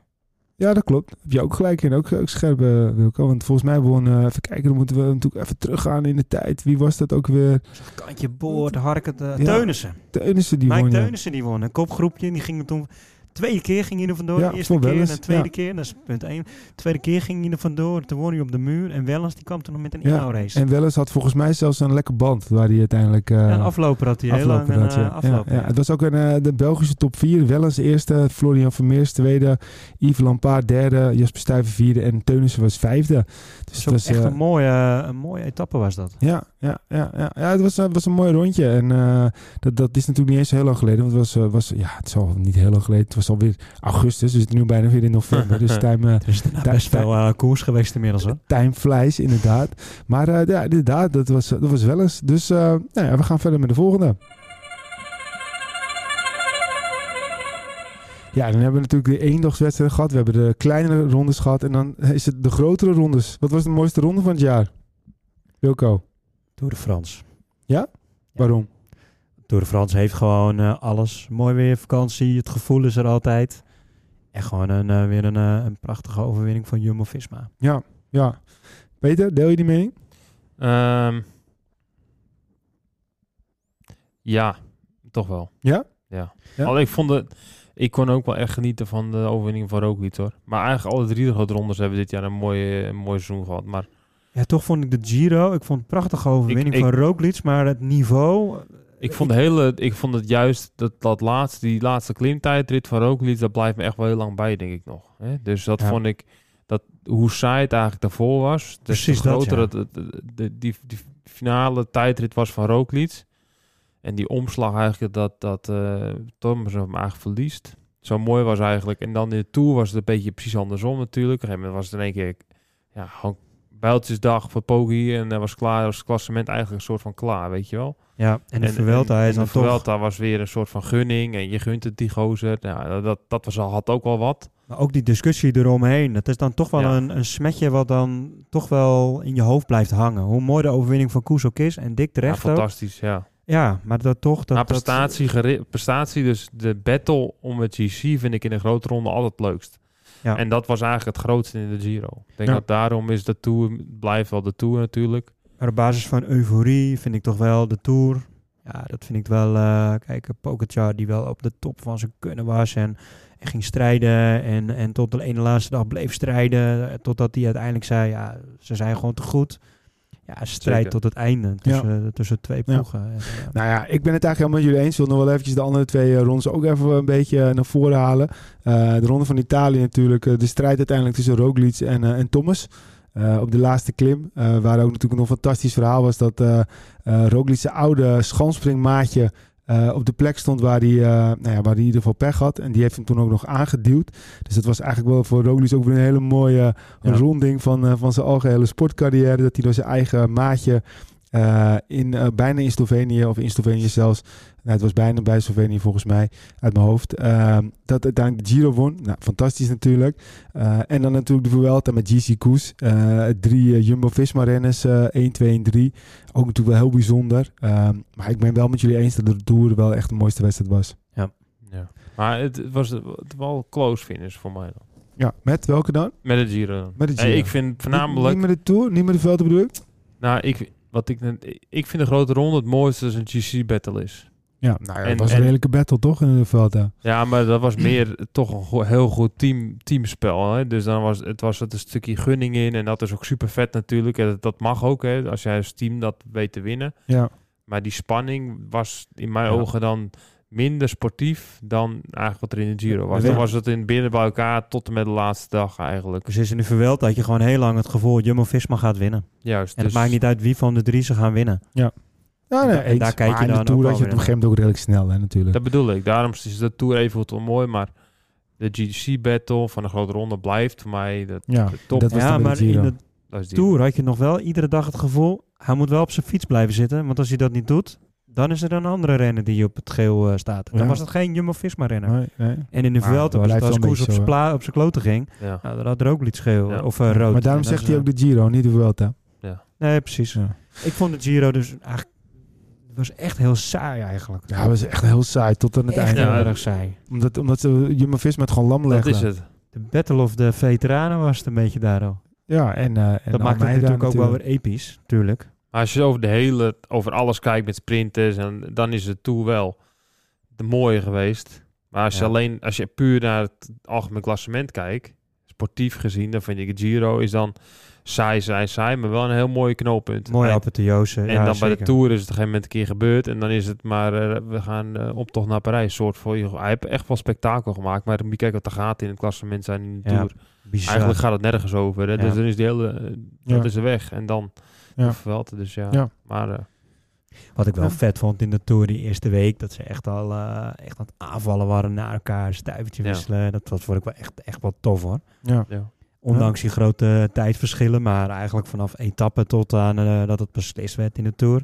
Speaker 1: Ja, dat klopt. Heb je ook gelijk in. Ook, ook scherp, eh, Wilco. Want volgens mij won... eh, even kijken, dan moeten we natuurlijk even teruggaan in de tijd. Wie was dat ook weer?
Speaker 3: Kantje boord, harket... eh,
Speaker 1: Ja.
Speaker 3: Teunissen.
Speaker 1: Teunissen die
Speaker 3: Mike
Speaker 1: won. eh, ja.
Speaker 3: Teunissen die won. Een kopgroepje. Die ging er toen... Twee keer ging hij er vandoor.
Speaker 1: Ja,
Speaker 3: de eerste
Speaker 1: voor
Speaker 3: keer en
Speaker 1: Wellens,
Speaker 3: de tweede
Speaker 1: ja.
Speaker 3: keer. Dat is punt één. De tweede keer ging hij er vandoor. Toen won hij op de muur. En Wellens die kwam toen nog met een
Speaker 1: Ja,
Speaker 3: inhoudrace.
Speaker 1: En Wellens had volgens mij zelfs een lekker band waar hij uiteindelijk eh
Speaker 3: Ja, een afloper had hij heel lang.
Speaker 1: aflopen
Speaker 3: Een,
Speaker 1: had, ja.
Speaker 3: eh, afloper.
Speaker 1: Ja, ja. Het was ook een, eh, de Belgische top 4. Wellens eerste, Florian Vermeers tweede, Yves Lampaard derde, Jasper Stuyven vierde en Teunissen was vijfde. Dus
Speaker 3: Dus
Speaker 1: het was,
Speaker 3: echt
Speaker 1: eh,
Speaker 3: een, mooie, een mooie etappe was dat.
Speaker 1: ja, ja, ja, ja. ja, het was, eh, was een mooi rondje. En eh, dat, dat is natuurlijk niet eens heel lang geleden. Want het was, eh, was ja, het is al niet heel lang geleden. Het was alweer augustus, dus het is nu bijna weer in november. dus time, eh,
Speaker 3: Dus er
Speaker 1: Daar-
Speaker 3: best veel eh, koers geweest inmiddels hoor.
Speaker 1: Time flies, inderdaad. Maar eh, ja, inderdaad, dat was, dat was wel eens. Dus eh, nou ja, we gaan verder met de volgende. Ja, dan hebben we natuurlijk de eendagswedstrijden gehad. We hebben de kleinere rondes gehad. En dan eh, is het de grotere rondes. Wat was de mooiste ronde van het jaar? Wilco,
Speaker 3: Tour de France.
Speaker 1: waarom?
Speaker 3: Tour de France heeft gewoon eh, alles. Mooi weer, vakantie, het gevoel is er altijd. En gewoon een, eh, weer een, eh, een prachtige overwinning van Jumbo-Visma.
Speaker 1: Ja, ja. Peter, deel je die mening?
Speaker 2: Ehm, ja, toch wel.
Speaker 1: Ja?
Speaker 2: Ja.
Speaker 1: Ja?
Speaker 2: Alleen ik vond het... Ik kon ook wel echt genieten van de overwinning van Roglic, hoor. Maar eigenlijk alle drie de grote rondes hebben dit jaar een mooie, een mooi seizoen gehad. Maar
Speaker 3: Ja, toch vond ik de Giro. Ik vond het een prachtige overwinning
Speaker 2: Ik- ik-
Speaker 3: van Roglic. Maar het niveau... eh,
Speaker 2: Ik vond, de hele, ik vond het juist dat, dat laatste, die laatste klimtijdrit van Roglic, dat blijft me echt wel heel lang bij, denk ik nog. Hè? Dus dat
Speaker 3: Ja.
Speaker 2: vond ik, dat, hoe saai het eigenlijk daarvoor was, des
Speaker 3: Precies
Speaker 2: te
Speaker 3: dat,
Speaker 2: groter
Speaker 3: ja.
Speaker 2: dat, het- de, die, die finale tijdrit was van Roglic. En die omslag eigenlijk dat, dat eh Thomas hem eigenlijk verliest. Zo mooi was eigenlijk. En dan in de Tour was het een beetje precies andersom natuurlijk. Op een gegeven moment was het in één keer ja, gewoon bijltjesdag voor Poggi. En dan was klaar, was het klassement eigenlijk een soort van klaar, weet je wel.
Speaker 3: Ja, en de Vuelta
Speaker 2: en
Speaker 3: is dan
Speaker 2: de
Speaker 3: toch...
Speaker 2: Vuelta was weer een soort van gunning. En je gunt het die gozer. Nou, dat- dat, dat was al, had ook wel wat.
Speaker 3: Maar ook die discussie eromheen. Het is dan toch wel
Speaker 2: Ja.
Speaker 3: een, een smetje wat dan toch wel in je hoofd blijft hangen. Hoe mooi de overwinning van Koes ook is. En dik
Speaker 2: Ja,
Speaker 3: terecht ook.
Speaker 2: Nou, fantastisch, ja.
Speaker 3: Ja, maar dat toch... Dat,
Speaker 2: Na
Speaker 3: dat-
Speaker 2: prestatie, geri- prestatie, dus de battle om het GC vind ik in een grote ronde altijd het leukst.
Speaker 3: Ja.
Speaker 2: En dat was eigenlijk het grootste in de Giro. Ik denk
Speaker 1: Ja.
Speaker 2: dat daarom is de Tour, blijft wel de Tour natuurlijk.
Speaker 3: Maar op basis van euforie vind ik toch wel de Tour. Ja, dat vind ik wel... eh kijk, Pogacar die wel op de top van zijn kunnen was. En, en ging strijden. En, en tot de ene laatste dag bleef strijden. eh, Totdat hij uiteindelijk zei... Ja, ze zijn gewoon te goed. Ja, strijd
Speaker 2: Zeker.
Speaker 3: tot het einde. Tussen, tussen twee
Speaker 1: Ja.
Speaker 3: ploegen. En, eh,
Speaker 1: Nou ja, ik ben het eigenlijk helemaal met jullie eens. Ik wil nog wel eventjes de andere twee eh, rondes ook even een beetje eh, naar voren halen. Eh, de ronde van Italië natuurlijk. eh, de strijd uiteindelijk tussen Roglic en, eh, en Thomas. Eh, op de laatste klim, eh, waar ook natuurlijk nog een fantastisch verhaal was... dat eh eh Roglic zijn oude schanspringmaatje eh, op de plek stond... Waar hij, eh, nou ja, waar hij in ieder geval pech had. En die heeft hem toen ook nog aangeduwd. Dus dat was eigenlijk wel voor Roglic ook weer een hele mooie
Speaker 2: Ja.
Speaker 1: eh, ronding... van, eh, van zijn algehele sportcarrière. Dat hij door zijn eigen maatje eh, in, eh, bijna in Slovenië, of in Slovenië zelfs. Nou, het was bijna bij Slovenië volgens mij, uit mijn hoofd. Ehm, dat uiteindelijk de Giro won. Nou, fantastisch natuurlijk. Eh, en dan natuurlijk de Vuelta met GC Koes. Eh, drie eh, Jumbo-Visma-renners, eh, 1, 2 en 3. Ook natuurlijk wel heel bijzonder. Ehm, maar ik ben wel met jullie eens dat de Tour wel echt de mooiste wedstrijd was.
Speaker 2: Ja. Maar het was het wel close finish voor mij dan.
Speaker 1: Ja, met welke dan?
Speaker 2: Met de Giro. dan.
Speaker 1: Met de
Speaker 2: Eh,
Speaker 1: Giro.
Speaker 2: ik vind
Speaker 1: Niet,
Speaker 2: voornamelijk...
Speaker 1: niet met de Tour, niet met de Vuelta bedoel ik?
Speaker 2: Nou, ik, wat ik, net- ik vind de grote ronde het mooiste als een GC-battle is.
Speaker 1: Ja, nou ja,
Speaker 2: En-
Speaker 1: het was een
Speaker 2: en-
Speaker 1: redelijke battle toch in de Vuelta?
Speaker 2: Ja, maar dat was meer toch een go- heel goed team, teamspel. Hè? Dus dan was het was het een stukje gunning in. En dat is ook super vet natuurlijk. En dat, dat mag ook, hè, als jij als team dat weet te winnen.
Speaker 1: Ja.
Speaker 2: Maar die spanning was in mijn
Speaker 1: Ja.
Speaker 2: ogen dan minder sportief dan eigenlijk wat er in de Giro was.
Speaker 1: Ja.
Speaker 2: Dan was het in binnen bij elkaar tot en met de laatste dag eigenlijk.
Speaker 3: Dus is in de verweld dat je gewoon heel lang het gevoel Jumbo-Visma gaat winnen.
Speaker 2: Juist.
Speaker 3: En
Speaker 2: dus-
Speaker 3: het maakt niet uit wie van de drie ze gaan winnen.
Speaker 1: Ja, nee,
Speaker 3: En daar
Speaker 1: eens.
Speaker 3: kijk je
Speaker 1: maar in
Speaker 3: dan
Speaker 1: de
Speaker 3: ook
Speaker 1: Tour
Speaker 3: wel
Speaker 1: had je het op een
Speaker 3: weer
Speaker 1: gegeven moment ook redelijk snel, hè, natuurlijk.
Speaker 2: Dat bedoel ik. Daarom is de Tour even wel mooi, maar de GC-battle van de grote ronde blijft voor mij de,
Speaker 1: ja,
Speaker 2: de top.
Speaker 1: dat was
Speaker 3: ja,
Speaker 1: dan bij de
Speaker 3: maar in
Speaker 1: Giro.
Speaker 3: de
Speaker 2: Dat is die-
Speaker 3: Tour had je nog wel iedere dag het gevoel... hij moet wel op zijn fiets blijven zitten. Want als hij dat niet doet, dan is er een andere renner die op het geel eh, staat. Dan
Speaker 1: Ja.
Speaker 3: was het geen Jumbo-Visma-renner.
Speaker 1: Nee, nee.
Speaker 3: En in de
Speaker 1: Maar
Speaker 3: Vuelta
Speaker 1: dat
Speaker 3: was het
Speaker 1: blijft
Speaker 3: als
Speaker 1: wel een
Speaker 3: Koes op
Speaker 1: beetje
Speaker 3: zijn
Speaker 1: zo,
Speaker 3: pla- op zijn kloten ging...
Speaker 2: Ja.
Speaker 3: Nou, dat had er ook iets geel
Speaker 2: Ja.
Speaker 3: of eh,
Speaker 1: Maar
Speaker 3: rood.
Speaker 1: daarom
Speaker 3: En dat
Speaker 1: zegt
Speaker 3: is,
Speaker 1: hij ook de Giro, niet de Vuelta.
Speaker 3: eh, Nee, precies.
Speaker 1: Ja.
Speaker 3: Ik vond de Giro dus eigenlijk... Het was echt heel saai eigenlijk.
Speaker 1: Ja, dat was echt heel saai tot aan het
Speaker 3: echt
Speaker 1: einde.
Speaker 2: ja.
Speaker 3: heel erg saai.
Speaker 1: Omdat, omdat ze Jumbo-Visma het gewoon lam
Speaker 2: Dat
Speaker 1: leggen.
Speaker 2: is het.
Speaker 3: De Battle of the Veteranen was het een beetje daar al.
Speaker 1: Ja, en, eh, en
Speaker 3: dat maakt het
Speaker 1: Almeida
Speaker 3: natuurlijk, ook wel weer episch, natuurlijk.
Speaker 2: Maar als je over de hele, over alles kijkt met sprinters, en, dan is het toe wel de mooie geweest. Maar als je
Speaker 3: Ja.
Speaker 2: alleen, als je puur naar het algemeen klassement kijkt, sportief gezien, dan vind ik de Giro is dan saai, saai, saai, maar wel een heel mooi knooppunt.
Speaker 3: Mooie
Speaker 2: en,
Speaker 3: apotheose.
Speaker 2: en
Speaker 3: ja,
Speaker 2: dan bij
Speaker 3: zeker.
Speaker 2: de Tour is het op een gegeven moment een keer gebeurd en dan is het maar, eh, we gaan eh, op tocht naar Parijs, soort voor je. Hij heeft echt wel spektakel gemaakt, maar moet je kijken wat de gaten in het klassement zijn in de
Speaker 3: Ja,
Speaker 2: Tour.
Speaker 3: Bizar.
Speaker 2: Eigenlijk gaat het nergens over, hè?
Speaker 3: Ja.
Speaker 2: dus dan is de hele, eh,
Speaker 1: Ja.
Speaker 2: dat is de weg. En dan,
Speaker 1: Ja.
Speaker 2: ja. dus ja.
Speaker 1: Ja.
Speaker 2: Maar... eh,
Speaker 3: Wat ik wel
Speaker 1: Ja.
Speaker 3: vet vond in de Tour die eerste week, dat ze echt al eh, echt aan het aanvallen waren naar elkaar, stuivertje
Speaker 2: Ja.
Speaker 3: wisselen. Dat was, vond ik wel echt, echt wel tof hoor.
Speaker 1: Ja.
Speaker 2: Ja.
Speaker 3: Ondanks die grote tijdverschillen, maar eigenlijk vanaf etappe tot aan eh, dat het beslist werd in de Tour,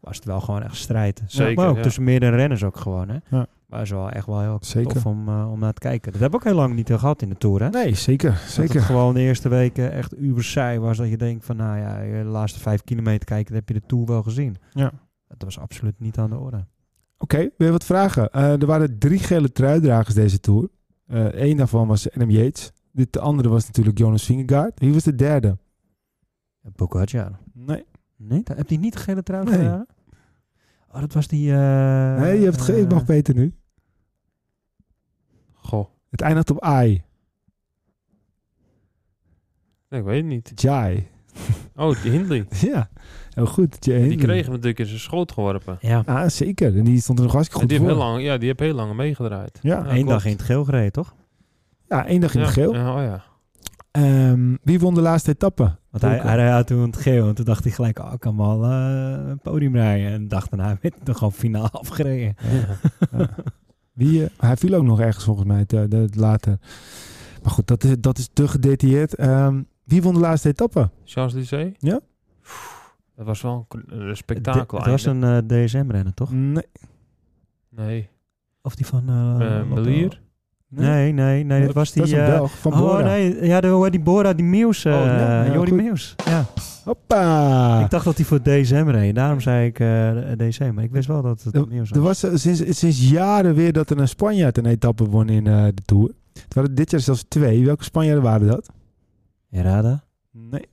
Speaker 3: was het wel gewoon echt strijd.
Speaker 2: Zeker,
Speaker 3: maar ook
Speaker 2: ja.
Speaker 3: tussen meerdere renners ook gewoon hè.
Speaker 1: Ja.
Speaker 3: Maar is wel echt wel heel
Speaker 1: Zeker.
Speaker 3: tof om, eh, om naar te kijken. Dat hebben we ook heel lang niet eh, gehad in de Tour hè.
Speaker 1: Nee, zeker.
Speaker 3: Dat
Speaker 1: Zeker.
Speaker 3: het gewoon de eerste weken echt uber saai was. Dat je denkt van, nou ja, de laatste vijf kilometer kijken, dan heb je de Tour wel gezien.
Speaker 1: Ja.
Speaker 3: Dat was absoluut niet aan de orde.
Speaker 1: Oké, weer wat vragen. Eh, er waren drie gele truidragers deze Tour. Eén daarvan was Adam Yates. Dit- De andere was natuurlijk Jonas Vingegaard. Wie was de derde?
Speaker 3: Pogacar.
Speaker 1: Nee,
Speaker 3: Nee, dat, heb die niet de gele trui
Speaker 1: Nee.
Speaker 3: gedaan? Oh, dat was die... eh,
Speaker 1: nee je hebt het ge-
Speaker 3: eh,
Speaker 1: ik mag beter nu.
Speaker 2: Goh,
Speaker 1: Het eindigt op I.
Speaker 2: nee, ik weet het niet.
Speaker 1: Jai.
Speaker 2: Oh, die Hindley.
Speaker 1: Ja, heel goed. Jai
Speaker 2: Die kreeg hem natuurlijk in zijn schoot geworpen.
Speaker 3: Ja,
Speaker 1: Ah, zeker. En die stond er nog hartstikke
Speaker 2: en
Speaker 1: goed
Speaker 2: die
Speaker 1: voor.
Speaker 2: heeft, heel lang, ja, die heeft heel lang meegedraaid.
Speaker 1: Ja,
Speaker 3: één
Speaker 2: klopt.
Speaker 3: dag in het geel gereden, toch?
Speaker 1: ja één dag in
Speaker 2: ja.
Speaker 1: het geel.
Speaker 2: Ja, oh ja.
Speaker 1: Ehm, wie won de laatste etappe?
Speaker 3: Want hij,
Speaker 1: Pogacar.
Speaker 3: hij had toen in het geel. En toen dacht hij gelijk, oh, ik kan wel eh, een podium rijden. En de dag daarna werd hij toch gewoon finaal afgereden.
Speaker 1: Wie, eh, hij viel ook nog ergens volgens mij te, de- later. Maar goed, dat is, dat is te gedetailleerd. Ehm, wie won de laatste etappe?
Speaker 2: Charles Lycée?
Speaker 1: Ja.
Speaker 2: Dat was wel een k- een
Speaker 3: De-
Speaker 2: spektakel.
Speaker 3: Het was
Speaker 2: einde.
Speaker 3: een eh, DSM-renner, toch?
Speaker 1: Nee.
Speaker 2: Nee.
Speaker 3: Of die van...
Speaker 1: Ah,
Speaker 3: eh,
Speaker 2: Eh, Melier?
Speaker 3: Nee, nee, nee. Dat was die...
Speaker 1: Dat is een
Speaker 3: eh,
Speaker 1: Belg, van
Speaker 3: oh,
Speaker 1: Bora.
Speaker 3: nee. Ja, de, hoe heet die Bora, die Mews. eh
Speaker 1: Oh, ja, ja,
Speaker 3: Jordi
Speaker 1: goed.
Speaker 3: Mews. Ja.
Speaker 1: Hoppa!
Speaker 3: Ik dacht dat hij voor DSM reed. Daarom zei ik eh DC. Maar ik wist wel dat het Mews
Speaker 1: Er
Speaker 3: was.
Speaker 1: was eh, sinds, sinds jaren weer dat er een Spanjaard een etappe won in eh, de Tour. Het waren dit jaar zelfs twee. Welke Spanjaarden waren dat?
Speaker 3: Herrada?
Speaker 1: Nee.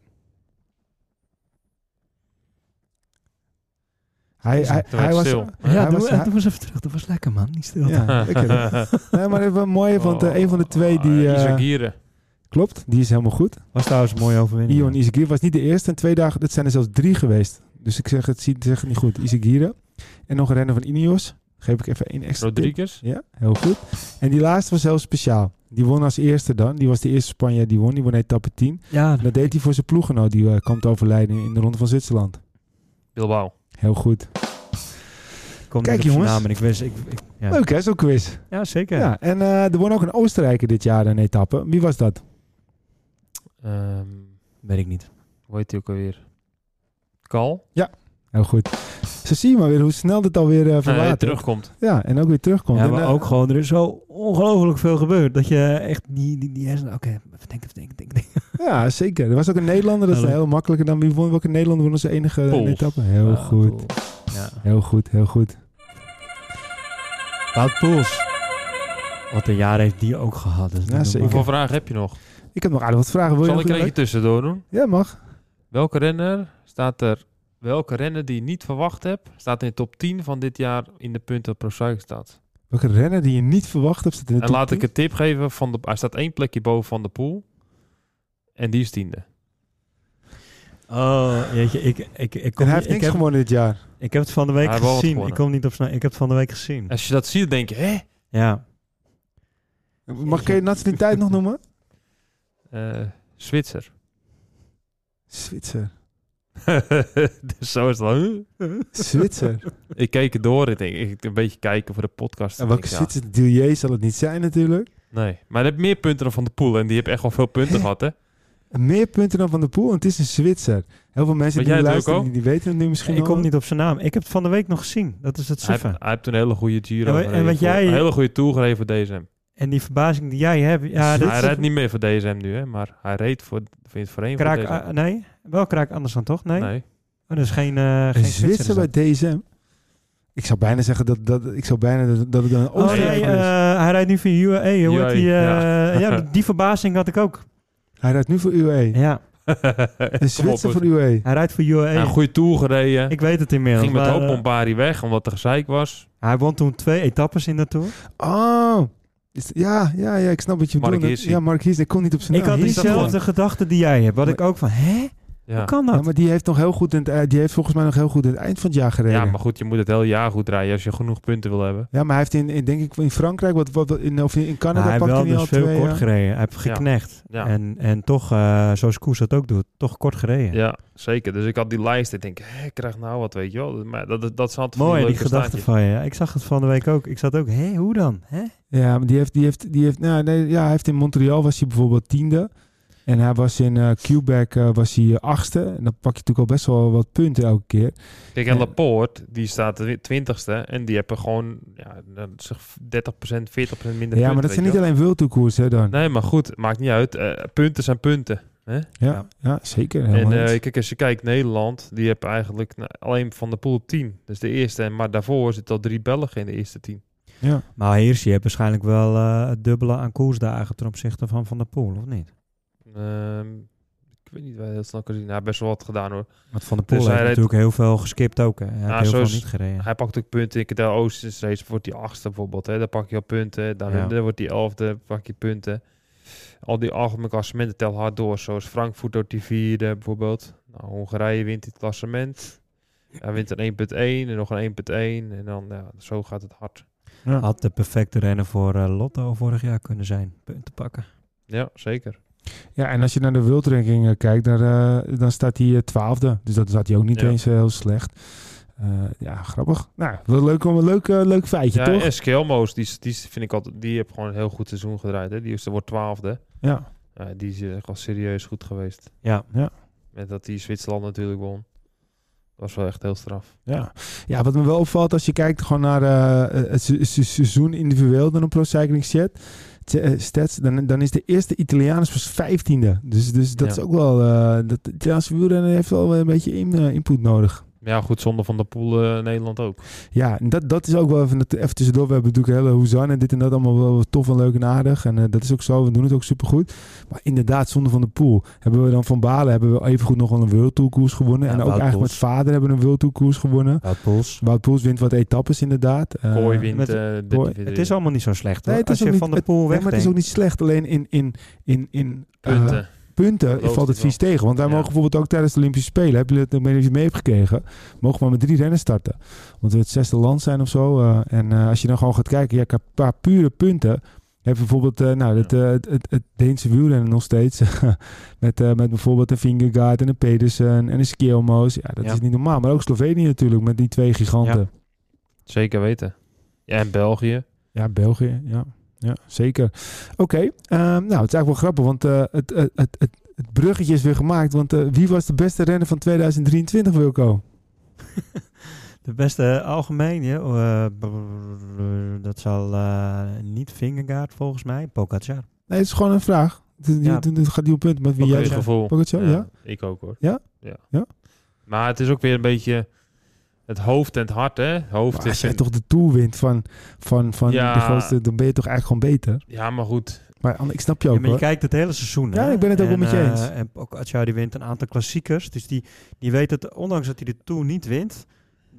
Speaker 1: Hij, hij,
Speaker 2: Toen werd
Speaker 1: hij was...
Speaker 2: stil.
Speaker 3: Ja,
Speaker 1: hij
Speaker 3: doe,
Speaker 1: was-
Speaker 3: eh,
Speaker 1: hij-
Speaker 3: doe eens even terug. Dat was lekker, man. Niet stil.
Speaker 1: Ja, lekker. Nee, maar even een mooie, want eh, een van de twee die...
Speaker 2: Oh,
Speaker 1: eh,
Speaker 2: Izagirre.
Speaker 1: klopt, die is helemaal goed.
Speaker 3: Was trouwens een mooie overwinning.
Speaker 1: Ion
Speaker 3: ja.
Speaker 1: Isagir was niet de eerste. En twee dagen, dat zijn er zelfs drie geweest. Dus ik zeg het, zie- zeg het niet goed. Isagire. En nog een renner van Ineos. Geef ik even één extra tip.
Speaker 2: Rodriguez?
Speaker 1: Ja, heel goed. En die laatste was heel speciaal. Die won als eerste dan. Die was de eerste Spanjaard die won. Die won etappe 10.
Speaker 3: Ja,
Speaker 1: En dat deed hij voor zijn ploeggenoot. Die eh, kwam te overlijden in de Ronde van Zwitserland.
Speaker 2: Bilbao.
Speaker 1: Heel goed.
Speaker 3: ik kom
Speaker 1: Kijk,
Speaker 3: niet op zijn
Speaker 1: jongens.
Speaker 3: Naam en ik wist, ik, ik- ja.
Speaker 1: Leuk hè, zo'n quiz.
Speaker 3: ja,
Speaker 1: Ja.
Speaker 3: zeker.
Speaker 1: en eh, er won ook een Oostenrijker dit jaar een etappe. Wie was dat?
Speaker 2: Ehm
Speaker 3: Weet ik niet.
Speaker 2: hoe heet hij ook alweer? Kal?
Speaker 1: Heel goed. Ze zien maar weer hoe snel dit alweer uh,
Speaker 2: Nee,
Speaker 1: verwatert.
Speaker 2: terugkomt.
Speaker 1: Ja, en ook weer terugkomt.
Speaker 3: Ja,
Speaker 1: En,
Speaker 3: maar
Speaker 1: eh,
Speaker 3: ook gewoon, er is zo ongelooflijk veel gebeurd. Dat je echt die, die, die hersenen... Oké, even denken, even denken, denken. denken.
Speaker 1: ja, zeker. Er was ook een Nederlander, dat is
Speaker 3: Hallo.
Speaker 1: heel makkelijker dan wie won. Welke Nederlander won onze enige eh,
Speaker 2: Pools.
Speaker 1: etappe? Heel
Speaker 3: Ah,
Speaker 1: goed,
Speaker 3: cool. Ja.
Speaker 1: heel goed, heel goed.
Speaker 3: Wout Poels. Wat een jaar heeft die ook gehad. Dus
Speaker 1: Ja, zeker.
Speaker 2: Hoeveel vragen heb je nog?
Speaker 1: Ik heb nog aardig wat vragen. Wil je
Speaker 2: Zal
Speaker 1: nog
Speaker 2: ik er eentje
Speaker 1: een-
Speaker 2: tussendoor doen?
Speaker 1: Ja, mag.
Speaker 2: Welke renner staat er... Welke renner die je niet verwacht hebt, staat in de top 10 van dit jaar in de punten pro cycling staat.
Speaker 1: Welke renner die je niet verwacht hebt, zit in de
Speaker 2: En
Speaker 1: top
Speaker 2: laat
Speaker 1: 10?
Speaker 2: ik een tip geven. Van de, hij staat één plekje boven van de pool. En die is tiende.
Speaker 3: Oh, jeetje, ik, ik, ik,
Speaker 1: En hij
Speaker 3: kom niet-
Speaker 1: heeft
Speaker 3: ik,
Speaker 1: niks
Speaker 3: heb,
Speaker 1: gewonnen dit jaar.
Speaker 3: ik heb het van de week
Speaker 2: Hij heeft wel wat
Speaker 3: gezien. Ik
Speaker 2: gewonnen.
Speaker 3: kom niet op snel. Ik heb het van de week gezien.
Speaker 2: Als je dat ziet, denk je, hè?
Speaker 3: Ja.
Speaker 1: Mag ik je nationaliteit nog noemen?
Speaker 2: Eh, Zwitser.
Speaker 1: Zwitser.
Speaker 2: dus zo is het wel.
Speaker 1: Zwitser.
Speaker 2: Ik keek er door. Ik denk, ik een beetje kijken voor de podcast.
Speaker 1: En welke
Speaker 2: Ik denk, ja,
Speaker 1: Zwitser Dillier zal het niet zijn natuurlijk.
Speaker 2: Nee. Maar hij heeft meer punten dan Van de Poel. En die heeft echt wel veel punten
Speaker 1: Hè?
Speaker 2: gehad, hè?
Speaker 1: Meer punten dan Van der Poel, en het is een Zwitser. Heel veel mensen die
Speaker 2: Weet jij het ook
Speaker 1: luisteren,
Speaker 2: al?
Speaker 1: die, die weten het nu misschien
Speaker 3: Ik
Speaker 1: al.
Speaker 3: kom niet op zijn naam. Ik heb het van de week nog gezien. Dat is het
Speaker 2: Hij, heeft-
Speaker 3: suffe.
Speaker 2: hij heeft een hele goede Giro
Speaker 3: En wa- en
Speaker 2: gereden
Speaker 3: wat
Speaker 2: voor-
Speaker 3: jij-
Speaker 2: Een hele goede Tour gereden voor DSM.
Speaker 3: En die verbazing die jij hebt... Ja,
Speaker 1: Dit
Speaker 2: hij
Speaker 1: is-
Speaker 2: rijdt niet meer voor DSM nu, hè? Maar hij reed voor, voor in het verenigd
Speaker 3: Kraak,
Speaker 2: voor DSM.
Speaker 3: ah, nee, wel kraak anders dan toch? Nee,
Speaker 2: nee.
Speaker 3: Oh, dat is geen, eh geen
Speaker 1: Een
Speaker 3: Zwitser.
Speaker 1: Zwitser
Speaker 3: is
Speaker 1: bij
Speaker 3: dat.
Speaker 1: DSM. Ik zou bijna zeggen dat, dat, ik zou bijna dat, dat het een
Speaker 3: Oh,
Speaker 1: Oostenrijker
Speaker 3: nee,
Speaker 1: is.
Speaker 3: eh, hij rijdt nu voor UAE. Hoe heet
Speaker 2: UAE,
Speaker 3: die, eh,
Speaker 2: E, ja.
Speaker 3: ja. die verbazing had ik ook.
Speaker 1: Hij rijdt nu voor UAE.
Speaker 3: Ja,
Speaker 1: Een Zwitser voor E. UAE.
Speaker 3: hij rijdt voor UAE.
Speaker 2: Een goede Tour gereden.
Speaker 3: ik weet het inmiddels.
Speaker 2: Nou, ging met
Speaker 3: maar,
Speaker 2: hoop
Speaker 3: eh,
Speaker 2: Bombari weg, omdat er gezeik was.
Speaker 3: hij won toen twee etappes in de Tour.
Speaker 1: Oh. Is- Ja, ja, ja, ik snap wat je
Speaker 2: Mark
Speaker 1: bedoelt.
Speaker 2: Hirschi.
Speaker 1: Ja, Mark Hirschi. Ik kon niet op zijn
Speaker 3: ik
Speaker 1: naam.
Speaker 3: had
Speaker 2: die is dat
Speaker 3: diezelfde gedachte die jij hebt. Wat ik ook van, hè?
Speaker 2: Ja.
Speaker 3: Hoe kan dat?
Speaker 1: Ja, maar die heeft nog heel goed in het, eh, die heeft volgens mij nog heel goed in het eind van het jaar gereden.
Speaker 2: Ja, maar goed, je moet het hele jaar goed rijden als je genoeg punten wil hebben.
Speaker 1: Ja, maar hij heeft in, in- denk ik in Frankrijk wat, wat, wat- in, of in
Speaker 3: Maar
Speaker 1: Canada
Speaker 3: hij
Speaker 1: pakte
Speaker 3: heeft wel
Speaker 1: hij al
Speaker 3: dus veel
Speaker 1: twee.
Speaker 3: kort
Speaker 1: ja.
Speaker 3: gereden. Hij heeft geknecht.
Speaker 2: Ja, ja.
Speaker 3: En, en toch, eh, zoals Koes dat ook doet, toch kort gereden.
Speaker 2: zeker. Dus ik had die lijst. Ik denk, hè, ik krijg nou wat, weet je wel. Maar dat, dat, dat zat van
Speaker 3: Mooi, die
Speaker 2: leuke
Speaker 3: gedachte
Speaker 2: staartjes.
Speaker 3: van je. Ja, Ik zag het van de week ook. Ik zat ook, hé, hoe dan? Hè?
Speaker 1: Ja, maar die heeft, die heeft, die heeft, nou, nee, ja, hij heeft in Montreal was hij bijvoorbeeld tiende. En hij was in eh, Quebec eh, was hij eh, achtste. En dan pak je natuurlijk al best wel wat punten elke keer.
Speaker 2: Kijk, en
Speaker 1: Ja.
Speaker 2: Laporte, die staat de twintigste. En die hebben gewoon ja, dan zeg 30%, 40% minder
Speaker 1: ja, maar dat zijn niet alleen wildtoekoers, hè, dan.
Speaker 2: Nee, maar goed, maakt niet uit. Eh, punten zijn punten.
Speaker 1: Ja, ja, zeker.
Speaker 2: en
Speaker 1: helemaal
Speaker 2: eh,
Speaker 1: eens.
Speaker 2: kijk, als je kijkt, Nederland, die hebben eigenlijk nou, alleen Van de Poel op 10. Dus de eerste. En Maar daarvoor zitten al drie Belgen in de eerste 10.
Speaker 1: ja.
Speaker 3: Maar Heersje heeft waarschijnlijk wel eh, het dubbele aan koersdagen ten opzichte van Van der Poel, of niet?
Speaker 2: Ehm, ik weet niet waar je dat snel kan zien. Hij heeft best wel wat gedaan hoor.
Speaker 3: Want Van der Poel
Speaker 2: Dus hij
Speaker 3: heeft
Speaker 2: rijdt-
Speaker 3: natuurlijk heel veel geskipt ook. Hè. Hij heeft
Speaker 2: Ja,
Speaker 3: heel
Speaker 2: zo
Speaker 3: veel
Speaker 2: is-
Speaker 3: niet gereden.
Speaker 2: Hij pakt ook punten. Ik de Oostens race wordt die achtste bijvoorbeeld. Hè. Daar pak je al punten. Dan
Speaker 3: Ja.
Speaker 2: dan wordt die elfde, pak je punten. Al die algemene klassementen tellen hard door. Zoals Frankfurt door die vierde bijvoorbeeld. Nou, Hongarije wint dit klassement. Hij wint een 1.1 en nog een 1.1. En dan, ja, zo gaat het hard. Ah.
Speaker 3: Had de perfecte renner voor eh, Lotto vorig jaar kunnen zijn. Punten pakken.
Speaker 2: Ja, zeker.
Speaker 1: ja, en als je naar de wildranking eh, kijkt, daar, eh, dan staat hij eh, twaalfde. Dus dat zat hij ook niet
Speaker 2: Ja.
Speaker 1: eens eh, heel slecht. Eh, ja, grappig. Nou, wel leuk, om- een leuk, eh, leuk feitje,
Speaker 2: Ja,
Speaker 1: toch?
Speaker 2: en Skelmoos, die, is- die is- vind ik altijd, die heeft gewoon een heel goed seizoen gedraaid. Hè. Die is, wordt twaalfde.
Speaker 1: Ja.
Speaker 2: Ja, die is eh, echt wel serieus goed geweest.
Speaker 3: Ja,
Speaker 2: Met dat die Zwitserland natuurlijk won. Dat was wel echt heel straf.
Speaker 1: Ja. ja, wat me wel opvalt als je kijkt gewoon naar eh, het se- se- seizoen individueel dan een Pro Cycling Chat. t- eh, Stats, dan, dan is de eerste Italiaan pas vijftiende. Dus, dus dat
Speaker 2: Ja.
Speaker 1: is ook wel... eh dat, de Italiaanse wielrenner heeft wel een beetje in, eh, input nodig.
Speaker 2: Maar ja, goed, zonder Van der Poel eh, Nederland ook.
Speaker 1: Ja, en dat, dat is ook wel even, dat- even tussendoor. We hebben natuurlijk hele hoezan en dit en dat allemaal wel tof en leuk en aardig. En eh, dat is ook zo, we doen het ook supergoed. Maar inderdaad, zonder Van de Poel hebben we dan Van Balen... hebben we evengoed nog wel een World Tour koers gewonnen.
Speaker 3: Ja,
Speaker 1: en ook
Speaker 3: Wout
Speaker 1: eigenlijk met
Speaker 3: Poels.
Speaker 1: vader hebben we een World Tour koers gewonnen.
Speaker 3: Wout Poels.
Speaker 1: Wout Poels wint wat etappes inderdaad. Eh,
Speaker 2: Kooi wint
Speaker 3: met-
Speaker 2: eh, dit-
Speaker 1: Kooi.
Speaker 2: dit-
Speaker 3: Het is allemaal niet zo slecht. Hoor.
Speaker 1: Nee, het is ook
Speaker 3: Als je
Speaker 1: niet-
Speaker 3: Van der Poel
Speaker 1: Nee, maar het is ook
Speaker 3: wegdenkt.
Speaker 1: niet slecht. Alleen in, in, in, in eh,
Speaker 2: punten.
Speaker 1: punten
Speaker 2: Loopt
Speaker 1: valt het
Speaker 2: het
Speaker 1: vies tegen. Want wij
Speaker 2: Ja.
Speaker 1: mogen bijvoorbeeld ook tijdens de Olympische Spelen, heb je het, ik weet niet of je het mee hebt gekregen, mogen we maar met drie renners starten. Want we het zesde land zijn of zo. eh, en eh, als je dan gewoon gaat kijken, ja, qua- qua pure punten. Heb je bijvoorbeeld eh, nou, het, eh, het, het, het Deense wielrennen nog steeds. met, eh, met bijvoorbeeld een Vingegaard en een Pedersen en een Skelmoos. Ja, dat
Speaker 3: Ja.
Speaker 1: is niet normaal. Maar ook Slovenië natuurlijk met die twee giganten.
Speaker 2: Zeker weten. Ja, en België.
Speaker 1: Ja, België, ja. Ja, zeker. Oké, ehm, nou, het is eigenlijk wel grappig, want eh, het, het, het, het, het bruggetje is weer gemaakt. Want eh, wie was de beste renner van 2023, Wilco?
Speaker 3: De beste algemeen, ja, eh, brrr, dat zal eh, niet Vingegaard volgens mij, Pogacar.
Speaker 1: Nee, het is gewoon een vraag. Het
Speaker 3: Ja.
Speaker 1: het- het gaat die op punt met wie
Speaker 2: Ook
Speaker 1: jij...
Speaker 2: weer het gevoel.
Speaker 1: Pogacar, ja?
Speaker 2: Ik ook hoor.
Speaker 1: Ja?
Speaker 2: ja?
Speaker 1: Ja?
Speaker 2: Maar het is ook weer een beetje het hoofd en het hart, hè? Het Hoofd
Speaker 1: Maar Ah, als
Speaker 2: is
Speaker 1: jij toch de Tour wint van, van, van
Speaker 2: Ja.
Speaker 1: de grootste, dan ben je toch eigenlijk gewoon beter.
Speaker 2: Ja, maar goed.
Speaker 1: Maar Anne, ik snap je
Speaker 3: Ja,
Speaker 1: ook
Speaker 3: maar je
Speaker 1: hoor.
Speaker 3: kijkt het hele seizoen.
Speaker 1: Ja,
Speaker 3: hè?
Speaker 1: ik ben het ook wel
Speaker 3: En,
Speaker 1: met je
Speaker 3: eh,
Speaker 1: eens.
Speaker 3: En Pogacar die wint een aantal klassiekers. Dus die, die weet het, ondanks dat hij de Tour niet wint,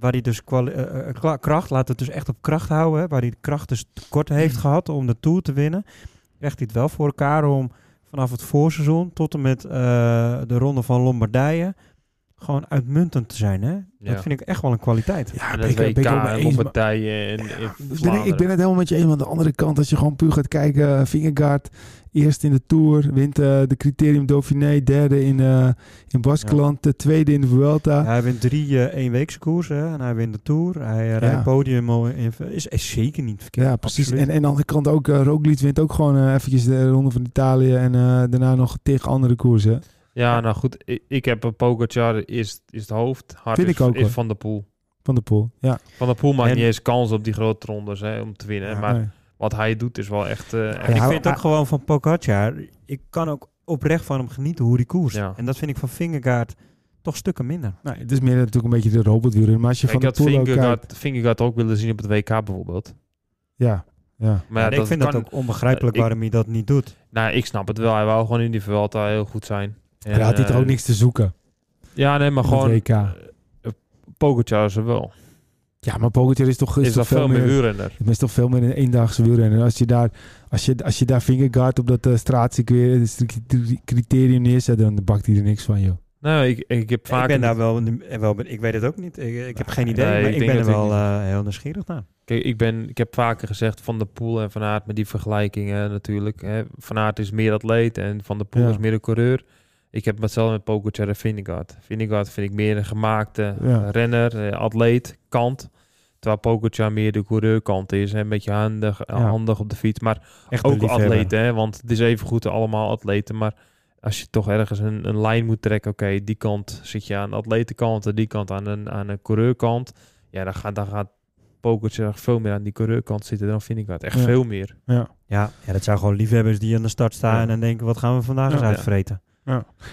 Speaker 3: waar hij dus kwali- eh, eh, kla- kracht, laat het dus echt op kracht houden, hè, waar hij de kracht dus tekort
Speaker 1: Mm.
Speaker 3: heeft gehad om de Tour te winnen, krijgt hij het wel voor elkaar om vanaf het voorseizoen tot en met eh, de ronde van Lombardije gewoon uitmuntend te zijn. Hè?
Speaker 2: Ja.
Speaker 3: Dat vind ik echt wel een kwaliteit.
Speaker 1: Ja,
Speaker 2: En
Speaker 1: ben
Speaker 2: het
Speaker 1: ik, ben
Speaker 2: WK
Speaker 1: ik ook mee
Speaker 2: en
Speaker 1: eens. maar-
Speaker 2: partijen en in
Speaker 1: Ben ik, ik ben
Speaker 2: Vlaanderen.
Speaker 1: het helemaal met je eens. Maar aan de andere kant, als je gewoon puur gaat kijken... eh, Vingegaard, eerst in de Tour. Wint eh, de Criterium Dauphiné. Derde in, eh in Baskeland. De tweede in de Vuelta.
Speaker 3: Ja, hij wint drie eh eenweekse koersen hè, en hij wint de Tour. Hij eh, rijdt
Speaker 1: Ja.
Speaker 3: podium al in, is, is zeker niet verkeerd.
Speaker 1: Ja, precies.
Speaker 3: absoluut.
Speaker 1: En, en aan de andere kant ook, eh Roglic wint ook gewoon eh, eventjes de Ronde van Italië en eh, daarna nog tegen andere koersen. eh,
Speaker 2: Ja, nou goed. Ik, ik heb een Pogacar is, is het hoofd. Hart
Speaker 1: Vind
Speaker 2: is,
Speaker 1: ik ook,
Speaker 2: is
Speaker 1: hoor.
Speaker 2: Van der Poel.
Speaker 1: Van de Poel, ja.
Speaker 2: Van der Poel maakt
Speaker 3: En-
Speaker 2: niet eens kans op die grote rondes hè, om te winnen.
Speaker 3: Ja,
Speaker 2: maar
Speaker 1: Nee.
Speaker 2: wat hij doet is wel echt... eh, echt-
Speaker 3: ik
Speaker 1: hij-
Speaker 3: vind ook gewoon van Pogacar, ik kan ook oprecht van hem genieten hoe hij koerst.
Speaker 2: Ja.
Speaker 3: En dat vind ik van Vingegaard toch stukken minder.
Speaker 1: Nee, het is meer natuurlijk een beetje de robotwielen. Maar als je
Speaker 2: ik
Speaker 1: van de
Speaker 2: had
Speaker 1: Poel ook kijkt...
Speaker 2: Vingegaard, Vingegaard ook willen zien op het WK bijvoorbeeld.
Speaker 1: Ja, ja.
Speaker 2: Maar ja,
Speaker 3: En ik
Speaker 2: dat
Speaker 3: vind
Speaker 2: kan,
Speaker 3: dat ook onbegrijpelijk
Speaker 2: eh, ik-
Speaker 3: waarom hij dat niet doet.
Speaker 2: Nou, ik snap het wel. Hij wou gewoon in die Vuelta heel goed zijn. En,
Speaker 1: Hij had dit er
Speaker 2: eh,
Speaker 1: ook niks te zoeken.
Speaker 2: Ja, nee, maar
Speaker 1: in het
Speaker 2: gewoon...
Speaker 1: WK.
Speaker 2: eh, Pogacar is er wel.
Speaker 1: Ja, maar Pogacar is toch, is
Speaker 2: Is
Speaker 1: toch
Speaker 2: dat veel meer wielrenner.
Speaker 1: Het is toch veel meer een eendaagse wielrenner. En als je daar, als je, als je daar Vingegaard op dat eh, straatcircuit, het stri- criterium neerzet, dan bakt hij er niks van, joh.
Speaker 2: Nou, ik, ik heb vaak...
Speaker 3: ik ben daar wel, eh, wel, ik weet het ook niet. Ik, ik heb geen idee,
Speaker 2: nee,
Speaker 3: maar
Speaker 2: ik
Speaker 3: ik,
Speaker 2: denk
Speaker 3: ben er
Speaker 2: dat ik
Speaker 3: wel
Speaker 2: niet-
Speaker 3: eh, heel nieuwsgierig naar.
Speaker 2: Kijk, ik, ben, ik heb vaker gezegd Van der Poel en Van Aert met die vergelijkingen natuurlijk. Hè. Van Aert is meer atleet en Van der Poel
Speaker 1: Ja.
Speaker 2: is meer een coureur. Ik heb hetzelfde met Pogacar en Vingegaard. Vingegaard vind ik meer een gemaakte
Speaker 1: Ja.
Speaker 2: eh, renner, eh, atleet, kant. Terwijl Pogacar meer de coureurkant is. Hè. Een beetje handig, eh,
Speaker 1: Ja.
Speaker 2: handig op de fiets. Maar
Speaker 3: Echt
Speaker 2: ook atleten, hè. want het is even goed allemaal atleten. Maar als je toch ergens een, een lijn moet trekken. Oké, die kant zit je aan de atletenkant en die kant aan een, aan een coureurkant. Ja, dan gaat, dan gaat Pokertje echt veel meer aan die coureurkant zitten dan vind ik dat. Echt
Speaker 1: Ja.
Speaker 2: veel meer.
Speaker 3: Ja, ja, dat zijn gewoon liefhebbers die aan de start staan
Speaker 2: Ja.
Speaker 3: en denken, wat gaan we vandaag
Speaker 1: Ja.
Speaker 3: eens
Speaker 2: Ja.
Speaker 3: uitvreten?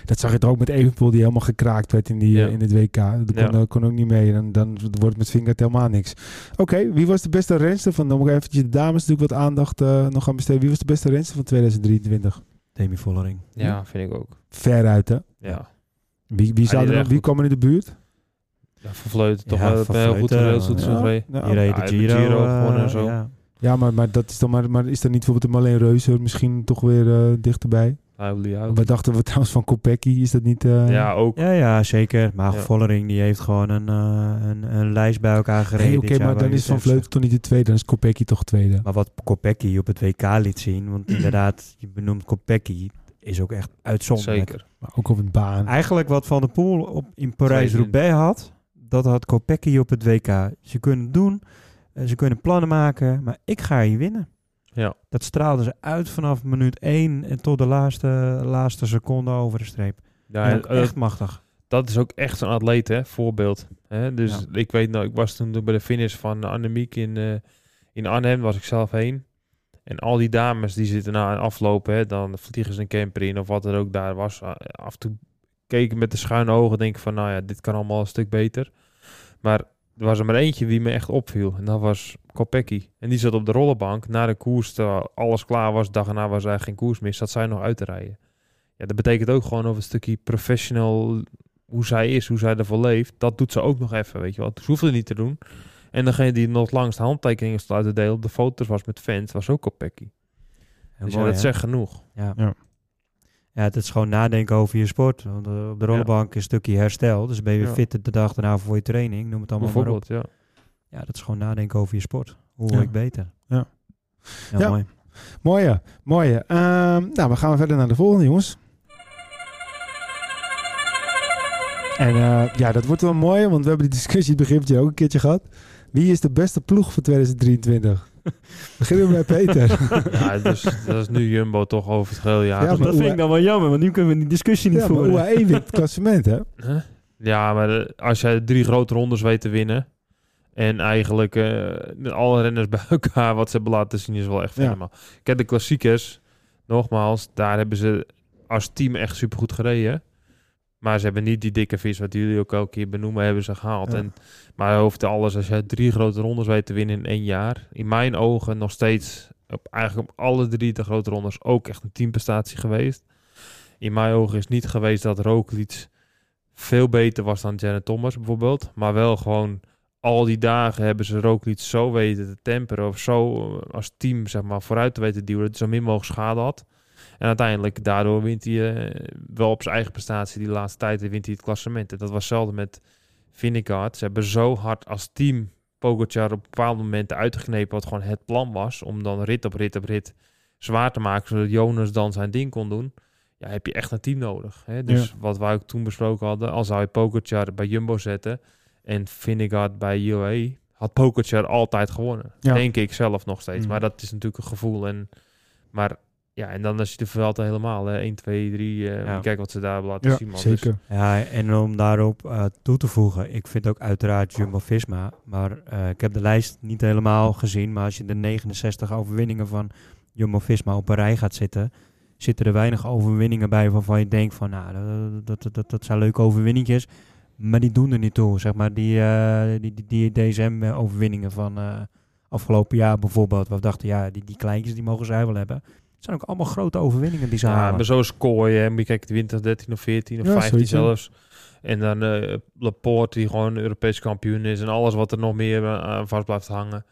Speaker 1: Dat zag je toch ook met Evenpoel, die helemaal gekraakt werd in, die,
Speaker 2: Ja.
Speaker 1: eh, in het WK. Dat kon,
Speaker 2: Ja.
Speaker 1: eh, kon ook niet mee. Dan, dan wordt het met Vingegaard helemaal niks. Oké, wie was de beste renster van... Dan moet ik eventjes de dames natuurlijk wat aandacht eh, nog aan besteden. Wie was de beste renster van 2023?
Speaker 3: Demi Vollering.
Speaker 2: Ja, vind ik ook.
Speaker 1: Veruit, hè?
Speaker 2: Ja.
Speaker 1: Wie, wie, zou
Speaker 2: deed
Speaker 1: er, nog-
Speaker 2: echt
Speaker 1: wie
Speaker 2: goed.
Speaker 1: kwam er in de buurt?
Speaker 2: ja van Vleuten toch
Speaker 3: Ja,
Speaker 2: wel
Speaker 3: Van
Speaker 2: een heel goed
Speaker 3: Vleuten,
Speaker 2: heel goed
Speaker 3: ja.
Speaker 2: seizoen gereden.
Speaker 1: Nou,
Speaker 3: Die reed de
Speaker 2: ja, de
Speaker 3: Giro,
Speaker 2: Giro
Speaker 3: eh,
Speaker 2: gewonnen en zo.
Speaker 3: ja.
Speaker 1: Ja, maar, maar, dat is dan maar, maar is dan niet bijvoorbeeld een Marleen Reuser misschien toch weer eh, dichterbij?
Speaker 2: Hij wil die houden.
Speaker 1: Wat dachten Oh, we trouwens van Kopecky? Is dat niet... eh,
Speaker 2: Ja, ook.
Speaker 3: Ja, ja, zeker. Maar
Speaker 2: Ja.
Speaker 3: Vollering die heeft gewoon een, eh, een, een lijst bij elkaar gereden.
Speaker 1: Nee, oké,
Speaker 3: dit jaar
Speaker 1: maar dan
Speaker 3: waarin
Speaker 1: is Van
Speaker 3: je zegt,
Speaker 1: Vleuten toch niet de tweede. Dan is Kopecky toch tweede.
Speaker 3: Maar wat Kopecky op het WK liet zien, want inderdaad, je benoemt Kopecky, is ook echt uitzonderlijk.
Speaker 2: Zeker.
Speaker 1: Maar ook op een baan.
Speaker 2: Ah.
Speaker 3: Eigenlijk wat Van der Poel op, in Parijs-Roubaix had, dat had Kopecky op het WK. Ze kunnen het doen, eh, ze kunnen plannen maken, maar ik ga hier winnen.
Speaker 2: Ja.
Speaker 3: Dat straalden ze uit vanaf minuut 1 en tot de laatste, laatste seconde over de streep.
Speaker 2: Ja,
Speaker 3: Ja,
Speaker 2: en, eh,
Speaker 3: echt machtig.
Speaker 2: dat is ook echt zo'n atleet, hè? Voorbeeld. Hè? Dus
Speaker 3: Ja.
Speaker 2: ik weet nou, ik was toen bij de finish van Annemiek in, eh, in Arnhem, was ik zelf heen. En al die dames die zitten na een aflopen, hè, dan vliegen ze een camper in of wat er ook daar was. A- Af en toe keken met de schuine ogen, denk ik van, nou ja, dit kan allemaal een stuk beter. Maar er was er maar eentje die me echt opviel. En dat was Kopecky. En die zat op de rollenbank na de koers, terwijl alles klaar was. Dag erna was er eigenlijk geen koers meer, zat zij nog uit te rijden. Ja, dat betekent ook gewoon over een stukje professional hoe zij is, hoe zij ervoor leeft, dat doet ze ook nog even, weet je wel. Dus hoeft het niet te doen. En degene die nog langs de handtekeningen stond uit te delen op de foto's was met fans, was ook op Pecky.
Speaker 3: Heel
Speaker 2: Dus ja,
Speaker 3: mooi,
Speaker 2: dat
Speaker 3: hè?
Speaker 2: zegt genoeg.
Speaker 3: Ja.
Speaker 1: Ja.
Speaker 3: ja. het is gewoon nadenken over je sport. Want eh, op de rollenbank is een stukje herstel. Dus ben je weer
Speaker 2: Ja.
Speaker 3: fitter de dag daarna voor je training. Noem het allemaal maar op.
Speaker 2: Bijvoorbeeld, ja.
Speaker 3: Ja, dat is gewoon nadenken over je sport. Hoe word
Speaker 1: Ja.
Speaker 3: ik beter?
Speaker 1: Ja.
Speaker 3: Ja,
Speaker 1: Ja.
Speaker 3: mooi.
Speaker 1: Mooie, mooie. Ehm, nou, we gaan verder naar de volgende, jongens. En eh, ja, dat wordt wel mooi, want we hebben die discussie het begintje ook een keertje gehad. Wie is de beste ploeg voor 2023? Beginnen we bij Peter.
Speaker 2: ja dus, dat is nu Jumbo toch over het geheel
Speaker 1: Ja,
Speaker 2: jaar. Ja,
Speaker 1: maar-
Speaker 2: maar,
Speaker 1: Dat vind ik
Speaker 3: dan wel jammer, want nu kunnen we die discussie
Speaker 1: ja, maar UAE wint het klassement, hè?
Speaker 2: Ja, maar eh, als jij drie grote rondes weet te winnen. En eigenlijk eh, met alle renners bij elkaar wat ze hebben laten zien is wel echt
Speaker 1: Ja.
Speaker 2: helemaal. Kijk, de klassiekers, nogmaals, daar hebben ze als team echt supergoed gereden. Maar ze hebben niet die dikke vis, wat jullie ook elke keer benoemen, hebben ze gehaald.
Speaker 1: Ja.
Speaker 2: En, maar over alles, als jij drie grote rondes weet te winnen in één jaar. In mijn ogen nog steeds, op, eigenlijk op alle drie de grote rondes, ook echt een teamprestatie geweest. In mijn ogen is niet geweest dat Roglic veel beter was dan Janet Thomas bijvoorbeeld. Maar wel gewoon al die dagen hebben ze Roglic zo weten te temperen. Of zo eh, als team zeg maar, vooruit te weten duwen. Dat hij zo min mogelijk schade had. En uiteindelijk daardoor wint hij eh, wel op zijn eigen prestatie die laatste tijd. Wint hij het klassement. En dat was hetzelfde met Vingegaard. Ze hebben zo hard als team Pogacar op bepaalde momenten uitgeknepen. Wat gewoon het plan was. Om dan rit op rit op rit zwaar te maken. Zodat Jonas dan zijn ding kon doen. Ja, heb je echt een team nodig. Hè? Dus wat wij ook toen besproken hadden. Al zou je Pogacar bij Jumbo zetten. En Vingegaard bij UAE. Had Pogacar altijd gewonnen.
Speaker 1: Ja.
Speaker 2: Denk ik zelf nog steeds.
Speaker 1: Mm.
Speaker 2: Maar dat is natuurlijk een gevoel. En, maar ja, en dan is je de Vuelta helemaal. Hè? 1, 2, 3. eh,
Speaker 3: Ja.
Speaker 2: Kijk wat ze daar hebben laten
Speaker 1: Ja,
Speaker 2: zien. man. Dus-
Speaker 1: zeker.
Speaker 3: Ja, en om daarop eh, toe te voegen, ik vind ook uiteraard Jumbo-Visma, maar eh, ik heb de lijst niet helemaal gezien, maar als je de 69 overwinningen van Jumbo-Visma op een rij gaat zitten, zitten er weinig overwinningen bij waarvan je denkt van, nou, dat, dat, dat, dat, dat zijn leuke overwinningjes, maar die doen er niet toe, zeg maar, die, eh, die, die, die DSM-overwinningen van eh, afgelopen jaar bijvoorbeeld, waar we dachten, ja, die, die kleintjes die mogen zij wel hebben. Het zijn ook allemaal grote overwinningen die ze
Speaker 2: Ja,
Speaker 3: halen.
Speaker 2: maar zo is Kooi, hè. Moet je kijken, 20, 13 of 14 of
Speaker 1: Ja,
Speaker 2: 15
Speaker 1: zoiets, ja.
Speaker 2: zelfs. En dan eh, Laporte, die gewoon Europees kampioen is. En alles wat er nog meer eh, aan vast blijft hangen.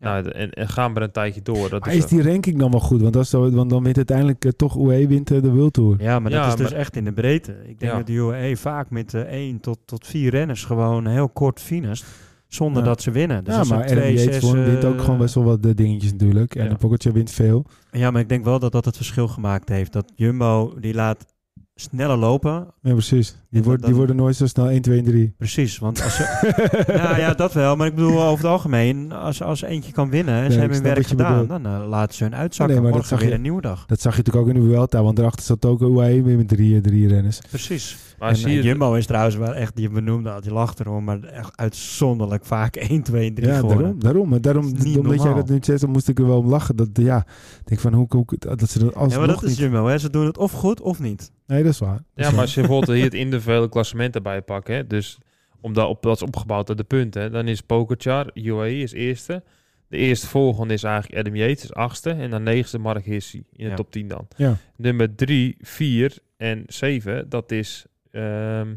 Speaker 3: Ja.
Speaker 2: Nou, en, en gaan we er een tijdje door. Dat
Speaker 1: Maar
Speaker 2: is, eh,
Speaker 1: is die ranking dan wel goed? Want, dat is zo, want dan wint uiteindelijk eh, toch UE wint eh, de World Tour.
Speaker 3: Ja, maar
Speaker 2: Ja,
Speaker 3: dat is dus
Speaker 2: maar-
Speaker 3: echt in de breedte. Ik denk
Speaker 2: Ja.
Speaker 3: dat de UAE vaak met eh één tot, tot vier renners gewoon heel kort finest. Zonder
Speaker 1: Ja.
Speaker 3: dat ze winnen. Dus
Speaker 1: ja,
Speaker 3: als ze
Speaker 1: maar
Speaker 3: twee,
Speaker 1: RMDH
Speaker 3: zes, eh,
Speaker 1: wint ook gewoon best wel wat eh, dingetjes natuurlijk. En
Speaker 2: Ja.
Speaker 1: de Pogacar wint veel.
Speaker 3: Ja, maar ik denk wel dat dat het verschil gemaakt heeft. Dat Jumbo, die laat sneller lopen.
Speaker 1: Ja, precies. Die,
Speaker 3: dat
Speaker 1: wordt, die
Speaker 3: dan-
Speaker 1: worden nooit zo snel 1, 2 en 3.
Speaker 3: Precies, want als ze... nou ja, dat wel. Maar ik bedoel, over het algemeen, als, als eentje kan winnen en
Speaker 1: Nee,
Speaker 3: ze
Speaker 1: ik
Speaker 3: hebben hun
Speaker 1: snap
Speaker 3: werk
Speaker 1: wat je
Speaker 3: gedaan, dan eh, laten ze hun uitzakken.
Speaker 1: Nee, maar dat
Speaker 3: Morgen
Speaker 1: zag
Speaker 3: weer
Speaker 1: je-
Speaker 3: een nieuwe dag.
Speaker 1: Dat zag je natuurlijk ook in de Vuelta, want daarachter zat ook UAE weer met drie, eh, drie renners.
Speaker 3: Precies.
Speaker 2: maar zie
Speaker 3: En, eh,
Speaker 2: je,
Speaker 3: Jumbo is trouwens wel echt, die benoemde al, die lacht erom, maar echt uitzonderlijk vaak 1, 2 en 3
Speaker 1: ja,
Speaker 3: geworden.
Speaker 1: daarom. daarom, maar daarom
Speaker 3: Dat is niet
Speaker 1: omdat jij
Speaker 3: normaal.
Speaker 1: dat nu zegt, dan moest ik er wel om lachen. Dat, ja, ik denk van hoe, hoe dat ze dat
Speaker 3: Ja, maar
Speaker 1: alsnog
Speaker 3: dat is
Speaker 1: niet...
Speaker 3: Jumbo, hè. Ze doen het of goed of niet.
Speaker 1: Nee, dat is waar.
Speaker 2: Ja, maar als je bijvoorbeeld hier het individuele klassement erbij pakt, hè, dus omdat op, dat is opgebouwd uit de punten, hè, dan is Pogacar, UAE is eerste. De eerste volgende is eigenlijk Adam Yates, is achtste. En dan negende Mark Hissy in de
Speaker 3: Ja.
Speaker 2: top 10 dan.
Speaker 1: Ja.
Speaker 2: Nummer 3, 4 en 7, dat is ehm,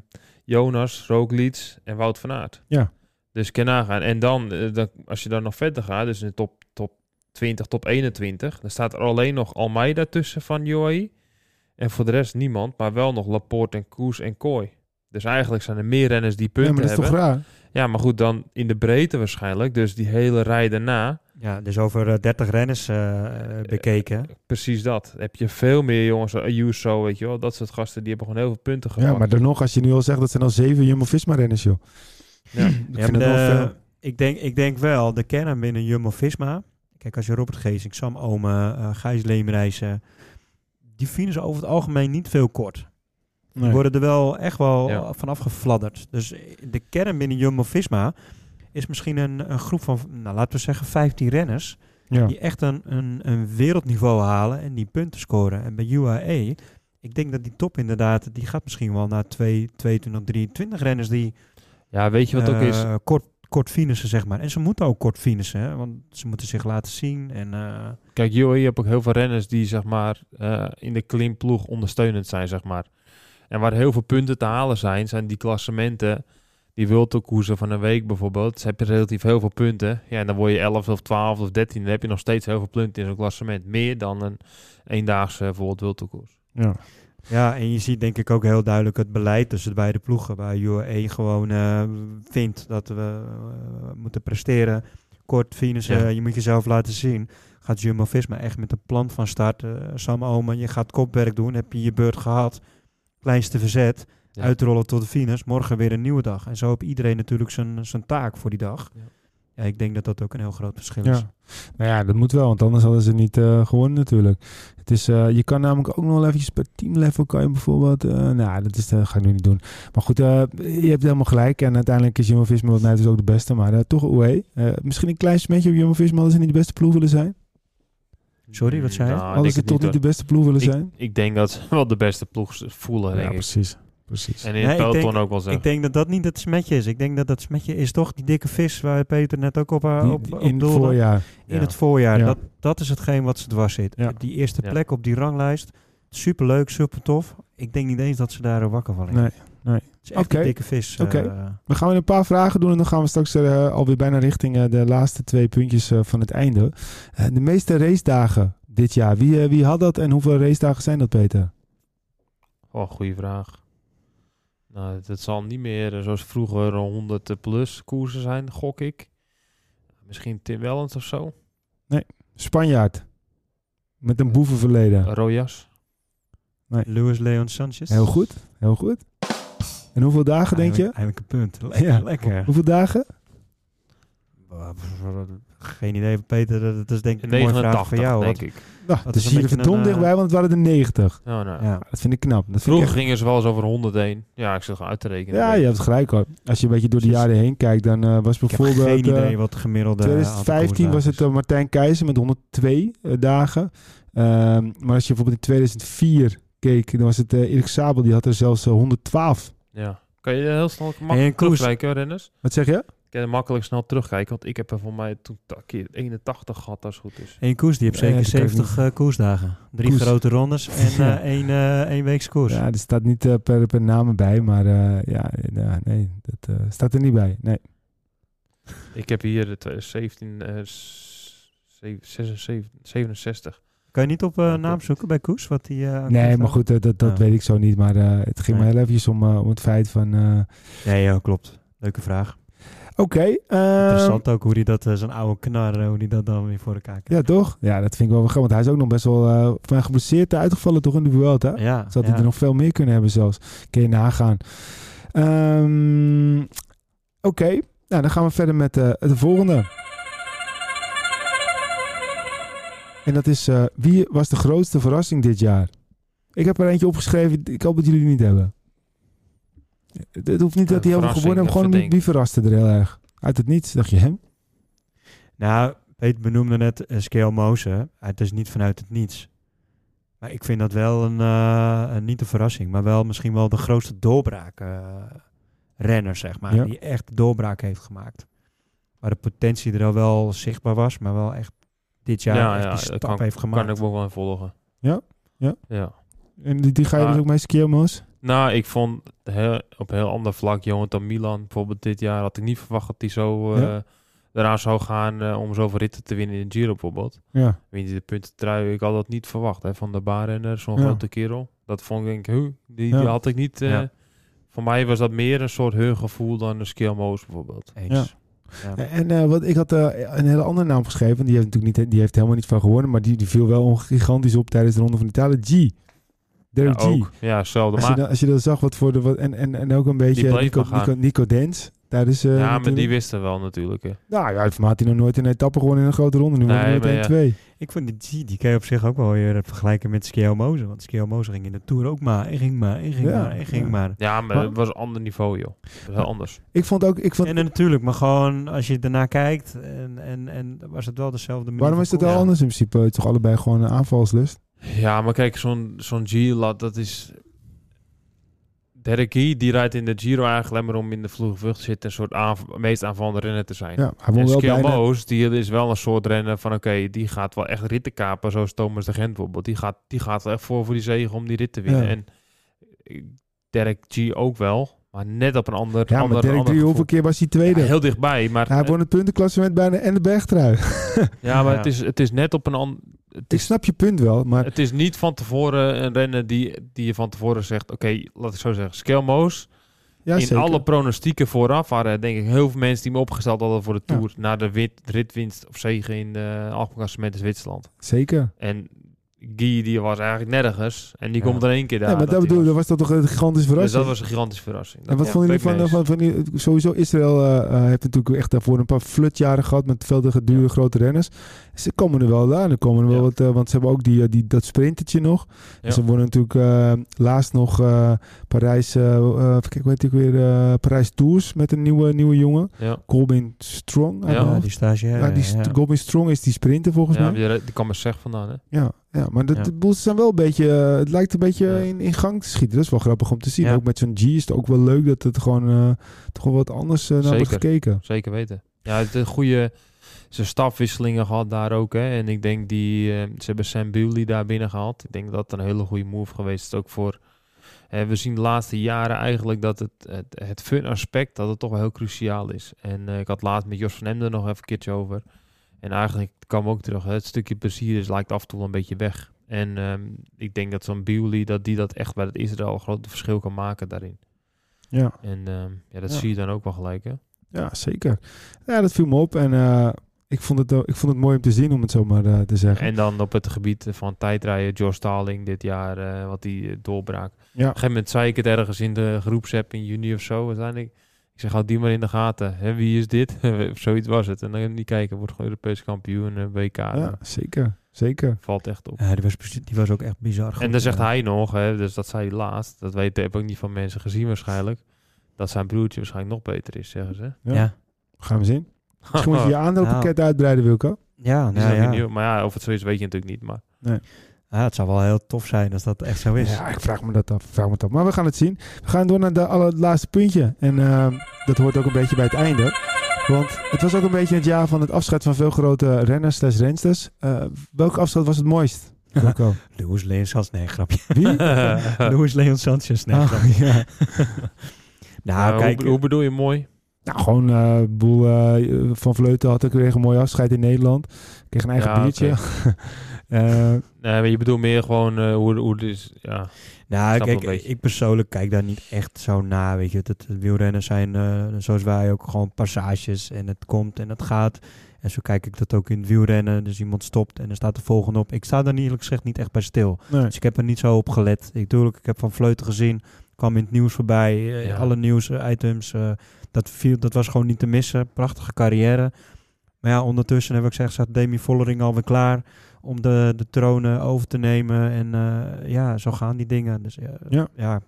Speaker 2: Jonas, Roglic en Wout van Aert.
Speaker 1: Ja.
Speaker 2: Dus kan je nagaan. En dan, eh, dan, als je dan nog verder gaat, dus in de top, top 20, top 21, dan staat er alleen nog Almeida tussen van UAE. En voor de rest niemand, maar wel nog Laporte en Koes en Kooi. Dus eigenlijk zijn er meer renners die
Speaker 1: Ja,
Speaker 2: punten
Speaker 1: maar dat is toch
Speaker 2: hebben.
Speaker 1: raar?
Speaker 2: ja, maar goed, dan in de breedte waarschijnlijk. Dus die hele rij daarna,
Speaker 3: Ja, dus over eh, 30 renners eh, eh, bekeken.
Speaker 2: precies dat. Heb je veel meer jongens, Ayuso, weet je wel. Dat soort gasten, die hebben gewoon heel veel punten gehad.
Speaker 1: Ja, maar dan nog, als je nu al zegt, dat zijn al zeven Jumbo-Visma-renners, joh.
Speaker 2: Ja.
Speaker 1: Ik
Speaker 3: Ja, eh,
Speaker 1: vind
Speaker 3: maar
Speaker 1: dat wel
Speaker 3: de-
Speaker 1: veel.
Speaker 3: ik, denk, ik denk wel, de kern binnen Jumbo-Visma... Kijk, als je Robert Geesink, Sam Ome, eh, Gijs Leemreizen... Die vinden ze over het algemeen niet veel kort.
Speaker 1: Nee.
Speaker 3: worden er wel echt wel
Speaker 2: Ja.
Speaker 3: eh, vanaf gefladderd. Dus eh, de kern binnen Jumbo-Visma is misschien een, een groep van, nou, laten we zeggen, 15 renners...
Speaker 1: Ja.
Speaker 3: die echt een, een, een wereldniveau halen en die punten scoren. En bij UAE, ik denk dat die top inderdaad, die gaat misschien wel naar 2, 22, 23 renners die
Speaker 2: ja, weet je wat ook is?
Speaker 3: eh, kort, kort finissen, zeg maar. En ze moeten ook kort finissen, hè, want ze moeten zich laten zien. En, eh,
Speaker 2: Kijk, UAE heb ook heel veel renners die zeg maar eh, in de klimploeg ondersteunend zijn, zeg maar. En waar heel veel punten te halen zijn, zijn die klassementen. Die wiltokoersen van een week bijvoorbeeld. Dus heb je relatief heel veel punten. Ja, en dan word je 11 of 12 of 13. Dan heb je nog steeds heel veel punten in zo'n klassement. Meer dan een eendaagse bijvoorbeeld wiltokoers.
Speaker 1: Ja.
Speaker 3: ja, en je ziet denk ik ook heel duidelijk het beleid tussen de beide ploegen. Waar UAE gewoon eh, vindt dat we eh, moeten presteren. Kort finissen,
Speaker 2: Ja.
Speaker 3: je moet jezelf laten zien. Gaat Jumbo-Visma echt met een plan van start. eh, Sam Omen, je gaat kopwerk doen. Heb je je beurt gehad. Kleinste verzet.
Speaker 2: Ja.
Speaker 3: Uitrollen tot de finish. Morgen weer een nieuwe dag. En zo heeft iedereen natuurlijk zijn, zijn taak voor die dag.
Speaker 2: Ja.
Speaker 3: Ja. Ja, ik denk dat dat ook een heel groot verschil is.
Speaker 1: Ja. Nou ja, dat moet wel, want anders hadden ze niet eh, gewonnen natuurlijk. Het is, eh, je kan namelijk ook nog wel eventjes per teamlevel kan je bijvoorbeeld... eh, nou, dat is, eh, ga ik nu niet doen. Maar goed, eh, je hebt helemaal gelijk. En uiteindelijk is Jumbo-Visma wat mij betreft ook de beste. Maar eh, toch away. Eh, misschien een klein smetje op Jumbo-Visma als ze niet de beste ploeg willen zijn.
Speaker 3: Sorry, wat zei je?
Speaker 2: Nou, ik
Speaker 1: Als ze
Speaker 2: denk
Speaker 1: toch niet
Speaker 2: het
Speaker 1: de beste ploeg willen
Speaker 2: hoor.
Speaker 1: zijn.
Speaker 2: ik, ik denk dat ze wel de beste ploeg voelen,
Speaker 1: ja,
Speaker 2: denk ik.
Speaker 1: precies. precies.
Speaker 2: En in
Speaker 3: Nee,
Speaker 2: het
Speaker 3: ik
Speaker 2: peloton
Speaker 3: denk-
Speaker 2: ook wel zo.
Speaker 3: Ik denk dat dat niet het smetje is. Ik denk dat dat smetje is toch die dikke vis waar Peter net ook op, eh,
Speaker 1: Die-
Speaker 3: op,
Speaker 1: die-
Speaker 3: op
Speaker 1: in het
Speaker 3: doelde.
Speaker 1: voorjaar.
Speaker 3: In
Speaker 2: Ja.
Speaker 3: het voorjaar.
Speaker 1: Ja.
Speaker 3: Dat, dat is hetgeen wat ze dwars zit.
Speaker 1: Ja.
Speaker 3: Die eerste
Speaker 2: Ja.
Speaker 3: plek op die ranglijst. Superleuk, super tof. Ik denk niet eens dat ze daar eh, wakker van liggen.
Speaker 1: Nee, nee.
Speaker 3: Het is echt
Speaker 1: Oké.
Speaker 3: een dikke vis.
Speaker 1: Oké.
Speaker 3: eh,
Speaker 1: We gaan weer een paar vragen doen en dan gaan we straks eh, alweer bijna richting eh, de laatste twee puntjes eh, van het einde. Eh, de meeste racedagen dit jaar, wie, eh, wie had dat en hoeveel racedagen zijn dat, Peter?
Speaker 2: Oh, goede vraag. Nou, het, het zal niet meer eh, zoals vroeger 100 plus koersen zijn, gok ik. Misschien Tim Wellens of zo.
Speaker 1: Spanjaard. Met een
Speaker 3: Oh,
Speaker 1: boevenverleden.
Speaker 2: Rojas.
Speaker 3: Luis Leon Sanchez.
Speaker 1: Heel goed, heel goed. En hoeveel dagen denk je?
Speaker 3: Eindelijk een punt. Lekker,
Speaker 1: Ja.
Speaker 3: lekker.
Speaker 1: Hoeveel dagen?
Speaker 3: Geen idee, Peter. dat- Dat is denk ik een mooie vraag
Speaker 2: 89,
Speaker 3: voor jou.
Speaker 2: denk
Speaker 3: want-
Speaker 2: ik.
Speaker 1: Nou,
Speaker 3: Dat
Speaker 1: dus
Speaker 3: is een
Speaker 1: hier
Speaker 3: beetje
Speaker 1: verdomd
Speaker 3: een, eh,
Speaker 1: dichtbij, want het waren er 90.
Speaker 2: Nou, nou.
Speaker 3: ja.
Speaker 1: Dat vind ik knap. Dat vind ik
Speaker 2: Vroeger gingen ze wel eens over 101. Ja, ik zit gewoon uit te rekenen.
Speaker 1: Ja, je hebt gelijk hoor. Als je een beetje door de
Speaker 3: Precies.
Speaker 1: jaren heen kijkt, dan eh, was
Speaker 3: Ik heb
Speaker 1: bijvoorbeeld...
Speaker 3: geen
Speaker 1: eh,
Speaker 3: idee wat de gemiddelde... aantal
Speaker 1: 2015 was
Speaker 3: koersdagen
Speaker 1: het
Speaker 3: is.
Speaker 1: eh, Martijn Keizer met 102 eh, dagen. Ehm, maar als je bijvoorbeeld in 2004 keek, dan was het eh, Erik Sabel, die had er zelfs eh, 112.
Speaker 2: Ja. Kan je eh, heel snel
Speaker 3: En een
Speaker 2: makkelijk
Speaker 3: koers-
Speaker 2: terugkijken, Renners?
Speaker 1: Wat zeg je?
Speaker 2: Ik kan makkelijk snel terugkijken, want ik heb er voor mij toen een keer 81 gehad, als het goed is.
Speaker 3: Eén koers, die heeft
Speaker 1: Nee,
Speaker 3: zeker
Speaker 1: dat kan ik
Speaker 3: 70 eh, koersdagen. Drie
Speaker 1: Koers.
Speaker 3: grote rondes en eh
Speaker 1: Ja.
Speaker 3: één, eh één weeks koers.
Speaker 1: Ja, er staat niet eh, per, per namen bij, maar eh, ja, eh, ja, nee, dat eh, staat er niet bij.
Speaker 3: Ah,
Speaker 1: Nee.
Speaker 2: Ik heb hier de 2017, eh, s- zeven- 76, 67.
Speaker 3: Kan je niet op eh, naam zoeken bij koers? Wat die, eh, aan
Speaker 1: Nee,
Speaker 3: koersdagen-
Speaker 1: maar goed, eh, dat, dat
Speaker 3: Ja.
Speaker 1: weet ik zo niet. Maar eh, het ging
Speaker 3: Nee.
Speaker 1: me heel eventjes om, eh, om het feit van... eh,
Speaker 3: Nee, ja, klopt. Leuke vraag.
Speaker 1: Oké, ehm,
Speaker 3: Interessant ook hoe die dat, eh, zo'n oude knar, eh, hoe die dat dan weer voor elkaar krijgt.
Speaker 1: ja toch? Ja, dat vind ik wel wel grappig. Want hij is ook nog best wel eh, voor mij geblesseerd eh, uitgevallen toch in de Vuelta?
Speaker 3: ja,
Speaker 1: Zou hij
Speaker 3: ja.
Speaker 1: er nog veel meer kunnen hebben zelfs. Kun je nagaan. Ehm, Oké, nou, dan gaan we verder met eh, de volgende. En dat is, eh, wie was de grootste verrassing dit jaar? Ik heb er eentje opgeschreven, ik hoop dat jullie die niet hebben. Het het hoeft niet
Speaker 2: Ja,
Speaker 1: dat hij helemaal
Speaker 2: verrassing,
Speaker 1: gewonnen heeft,
Speaker 2: dat
Speaker 1: gewoon wie,
Speaker 2: verdient.
Speaker 1: wie verraste er heel erg? Uit het niets, dacht je hem?
Speaker 3: Nou, Peter benoemde net eh, Scale Moze. Het is niet vanuit het niets. Maar ik vind dat wel een, eh, een- niet een verrassing, maar wel misschien wel de grootste doorbraak eh, renner, zeg maar.
Speaker 1: Ja.
Speaker 3: Die echt de doorbraak heeft gemaakt. Waar de potentie er al wel zichtbaar was, maar wel echt dit jaar
Speaker 2: Ja,
Speaker 3: echt
Speaker 2: ja,
Speaker 3: die
Speaker 2: dat
Speaker 3: stap
Speaker 2: kan- Kan
Speaker 3: heeft gemaakt.
Speaker 2: ik me wel in volgen.
Speaker 1: Ja? Ja?
Speaker 2: Ja.
Speaker 1: En die, die ga je
Speaker 2: Ah.
Speaker 1: dus ook mee skiën, Moos?
Speaker 2: Nou, ik vond heel, op heel ander vlak Jonathan Milan bijvoorbeeld dit jaar. Had ik niet verwacht dat hij zo eh
Speaker 1: Ja.
Speaker 2: eraan zou gaan eh, om zoveel ritten te winnen in de Giro bijvoorbeeld.
Speaker 1: Ja.
Speaker 2: Wint hij de puntentrui? Ik had dat niet verwacht hè, van de baanrenner, zo'n
Speaker 1: Ja.
Speaker 2: grote kerel. Dat vond ik, denk ik, huh, die,
Speaker 1: Ja.
Speaker 2: die had ik niet. eh,
Speaker 3: Ja.
Speaker 2: Voor mij was dat meer een soort heurgevoel dan een skillmoos bijvoorbeeld.
Speaker 3: Eens. Ja.
Speaker 1: En eh, wat, ik had eh, een hele andere naam geschreven. Die heeft natuurlijk niet, die heeft helemaal niet van gewonnen. Maar die, die viel wel gigantisch op tijdens de Ronde van Italië. G.
Speaker 2: Ja,
Speaker 1: Derek G.
Speaker 2: ook. Ja, hetzelfde.
Speaker 1: Als je,
Speaker 2: Maar,
Speaker 1: dan, als je dan zag wat voor de... Wat, en, en, en ook een beetje
Speaker 2: bleef
Speaker 1: Nico,
Speaker 2: maar gaan.
Speaker 1: Nico, Nico Dens. Tijdens, eh,
Speaker 2: ja, maar
Speaker 1: natuurlijk.
Speaker 2: die wisten wel natuurlijk. Hè.
Speaker 1: Nou ja, voor mij had hij nog nooit een etappe gewonnen in een grote ronde. Nu
Speaker 2: Nee,
Speaker 1: wordt hij meteen
Speaker 2: maar ja.
Speaker 1: twee.
Speaker 3: Ik vond die G, die kan je op zich ook wel weer vergelijken met Scale Moze. Want Scale Moze ging in de Tour ook maar, en ging maar, en ging
Speaker 1: Ja,
Speaker 3: maar, en ging
Speaker 1: ja.
Speaker 3: maar.
Speaker 2: Ja, maar
Speaker 1: Maar-
Speaker 2: het was een ander niveau, joh. Het was heel anders.
Speaker 1: Ik vond ook... Ik vond,
Speaker 3: En eh, natuurlijk, maar gewoon als je daarna kijkt en, en, en was het wel dezelfde manier.
Speaker 1: waarom
Speaker 3: van
Speaker 1: is dat
Speaker 3: koers.
Speaker 1: wel anders in principe? Het is toch allebei gewoon een aanvalslust?
Speaker 2: Ja, maar kijk, zo'n zo'n G-lat, dat is... Derek Guy, die rijdt in de Giro eigenlijk alleen maar om in de vloege vlucht te zitten... een soort aanv- meest aanvallende renner te zijn.
Speaker 1: Ja, hij won
Speaker 2: en
Speaker 1: wel
Speaker 2: Skill
Speaker 1: bijna...
Speaker 2: Moos, die is wel een soort renner van... oké, die gaat wel echt ritten kapen, zoals Thomas de Gent bijvoorbeeld. Die gaat, die gaat wel echt voor voor die zegen om die rit te winnen.
Speaker 1: Ja.
Speaker 2: En eh, Derek G ook wel, maar net op een ander
Speaker 1: Ja, maar
Speaker 2: ander,
Speaker 1: Derek
Speaker 2: ander
Speaker 1: Drie, hoeveel
Speaker 2: gevoel.
Speaker 1: keer was hij tweede?
Speaker 2: Ja, heel dichtbij, maar...
Speaker 1: Nou, hij won het puntenklassement bijna en de bergtrui.
Speaker 2: Ja, maar
Speaker 3: Ja.
Speaker 2: Het, is, het is net op een ander...
Speaker 1: ik
Speaker 2: Het is
Speaker 1: snap je punt wel, maar...
Speaker 2: Het is niet van tevoren een renner die, die je van tevoren zegt... Oké, laat ik zo zeggen. Skelmoos,
Speaker 1: ja,
Speaker 2: in
Speaker 1: zeker.
Speaker 2: alle pronostieken vooraf... waren denk ik heel veel mensen die me opgesteld hadden voor de
Speaker 1: Ja.
Speaker 2: Tour... na de wit, ritwinst of zege in de algemeen klassement in Zwitserland.
Speaker 1: Zeker.
Speaker 2: En Guy die was eigenlijk nergens. En die
Speaker 3: Ja.
Speaker 2: komt er één keer daar.
Speaker 1: Ja, maar dat
Speaker 2: hij
Speaker 1: bedoel,
Speaker 2: was.
Speaker 1: dat was toch toch een gigantische
Speaker 2: Dus
Speaker 1: verrassing?
Speaker 2: dat was een gigantische verrassing.
Speaker 1: en wat
Speaker 2: Ja,
Speaker 1: vonden jullie
Speaker 2: ben ik
Speaker 1: van,
Speaker 2: mee
Speaker 1: van, van, die- sowieso Israël eh, eh, heeft natuurlijk echt daarvoor een paar flutjaren gehad met veldige dure grote renners. Ze komen er wel aan, er komen er wel
Speaker 2: Ja.
Speaker 1: wat, eh, want ze hebben ook die, eh, die, dat sprintertje nog. En
Speaker 2: Ja.
Speaker 1: ze wonnen natuurlijk eh, laatst nog eh, Parijs, eh eh, kijk, weet ik weer, eh, Parijs Tours met een nieuwe, nieuwe jongen,
Speaker 2: eens. Ja.
Speaker 1: Colbin Strong. uit
Speaker 2: Ja.
Speaker 1: mijn
Speaker 3: Ja,
Speaker 1: hoofd.
Speaker 3: die stagiaire.
Speaker 1: Ja, die
Speaker 3: ja.
Speaker 1: st- Colbin Strong is die sprinter volgens
Speaker 2: Ja,
Speaker 1: mij.
Speaker 2: die, die kwam er zeg vandaan, hè?
Speaker 1: Ja, ja maar dat,
Speaker 3: Ja.
Speaker 1: de boels zijn wel een beetje, eh, het lijkt een beetje
Speaker 2: Ja.
Speaker 1: in, in gang te schieten. Dat is wel grappig om te zien.
Speaker 3: Ja.
Speaker 1: Ook met zo'n G is het ook wel leuk dat het gewoon, eh, toch wel wat anders eh, naar wordt
Speaker 2: Zeker.
Speaker 1: gekeken.
Speaker 2: Zeker weten. Ja, het is een goede... Ze stafwisselingen gehad daar ook, hè. En ik denk die... eh, ze hebben Sam Bewley daar binnen gehaald. Ik denk dat dat een hele goede move geweest is. Ook voor... eh, we zien de laatste jaren eigenlijk dat het, het, het fun aspect... dat het toch wel heel cruciaal is. En eh, ik had laatst met Jos van Emden nog even een keertje over. En eigenlijk kwam ook terug. hè, Het stukje plezier is, lijkt af en toe wel een beetje weg. En ehm, ik denk dat zo'n Bewley... dat die dat echt bij het Israël een groot verschil kan maken daarin.
Speaker 1: Ja.
Speaker 2: En ehm, ja, dat
Speaker 1: Ja.
Speaker 2: zie je dan ook wel gelijk, hè.
Speaker 1: ja, zeker. Ja, dat viel me op en eh, ik, vond het, eh, ik vond het mooi om te zien, om het zo maar eh, te zeggen.
Speaker 2: En dan op het gebied van tijdrijden, George Starling dit jaar, eh, wat die eh, doorbraak. Op
Speaker 1: ja.
Speaker 2: een gegeven moment zei ik het ergens in de groepsapp in juni of zo. Uiteindelijk, ik zeg, houd die maar in de gaten. Hè, wie is dit? of zoiets was het. En dan niet kijken, wordt gewoon Europees kampioen, eh, WK.
Speaker 1: ja, zeker. Zeker.
Speaker 2: Valt echt op.
Speaker 3: Ja, die was, precies- die was ook echt bizar. goed.
Speaker 2: en dan zegt
Speaker 3: Ja.
Speaker 2: hij nog, hè, dus dat zei hij laatst. Dat weet, heb ik ook niet van mensen gezien waarschijnlijk. Dat zijn broertje waarschijnlijk nog beter is, zeggen ze.
Speaker 1: Ja.
Speaker 3: Ja,
Speaker 1: Gaan we zien. Misschien moet je je aandeelpakket uitbreiden, Wilco.
Speaker 3: ja,
Speaker 2: Die is
Speaker 3: nou
Speaker 2: nog niet
Speaker 3: ja.
Speaker 2: nieuw. Maar ja, of het zo is, weet je natuurlijk niet. Maar
Speaker 3: Ja, het zou wel heel tof zijn als dat echt zo is.
Speaker 1: Ja, ik vraag me dat af. ik Vraag me dat af. Maar we gaan het zien. We gaan door naar de allerlaatste puntje. En ehm, dat hoort ook een beetje bij het einde. Want het was ook een beetje het jaar van het afscheid van veel grote renners slash rensters. Eh, welk afscheid was het mooist? Wilco?
Speaker 3: Louis Leon Sanchez, nee, grapje.
Speaker 1: Wie?
Speaker 3: Louis Leon Sanchez, nee,
Speaker 1: Ah,
Speaker 3: grapje.
Speaker 1: ja.
Speaker 3: Nou,
Speaker 2: Eh,
Speaker 3: kijk,
Speaker 2: hoe, hoe bedoel je mooi?
Speaker 1: Nou, gewoon eh, boel, eh, Van Vleuten had ook weer een mooi afscheid in Nederland. Kreeg een eigen
Speaker 2: Ja,
Speaker 1: biertje.
Speaker 2: oké.
Speaker 1: Eh,
Speaker 2: Nee, maar je bedoelt meer gewoon eh, hoe, hoe het is. Ja.
Speaker 3: nou,
Speaker 2: snap
Speaker 3: kijk
Speaker 2: wel een beetje.
Speaker 3: ik persoonlijk kijk daar niet echt zo na, weet je. Dat wielrennen zijn, eh, zoals wij ook, gewoon passages en het komt en het gaat. En zo kijk ik dat ook in het wielrennen. Dus iemand stopt en er staat de volgende op. Ik sta daar niet, eerlijk gezegd niet echt bij stil.
Speaker 1: nee.
Speaker 3: Dus ik heb er niet zo op gelet. Ik, tuurlijk, ik heb van Vleuten gezien. kwam in het nieuws voorbij. eh,
Speaker 2: Ja.
Speaker 3: Alle nieuws-items. eh, dat, viel, dat was gewoon niet te missen. Prachtige carrière. Maar ja, ondertussen heb ik gezegd, zat Demi Vollering alweer klaar om de, de tronen over te nemen. En eh, ja, zo gaan die dingen. Dus ja,
Speaker 1: Ja.
Speaker 3: ja.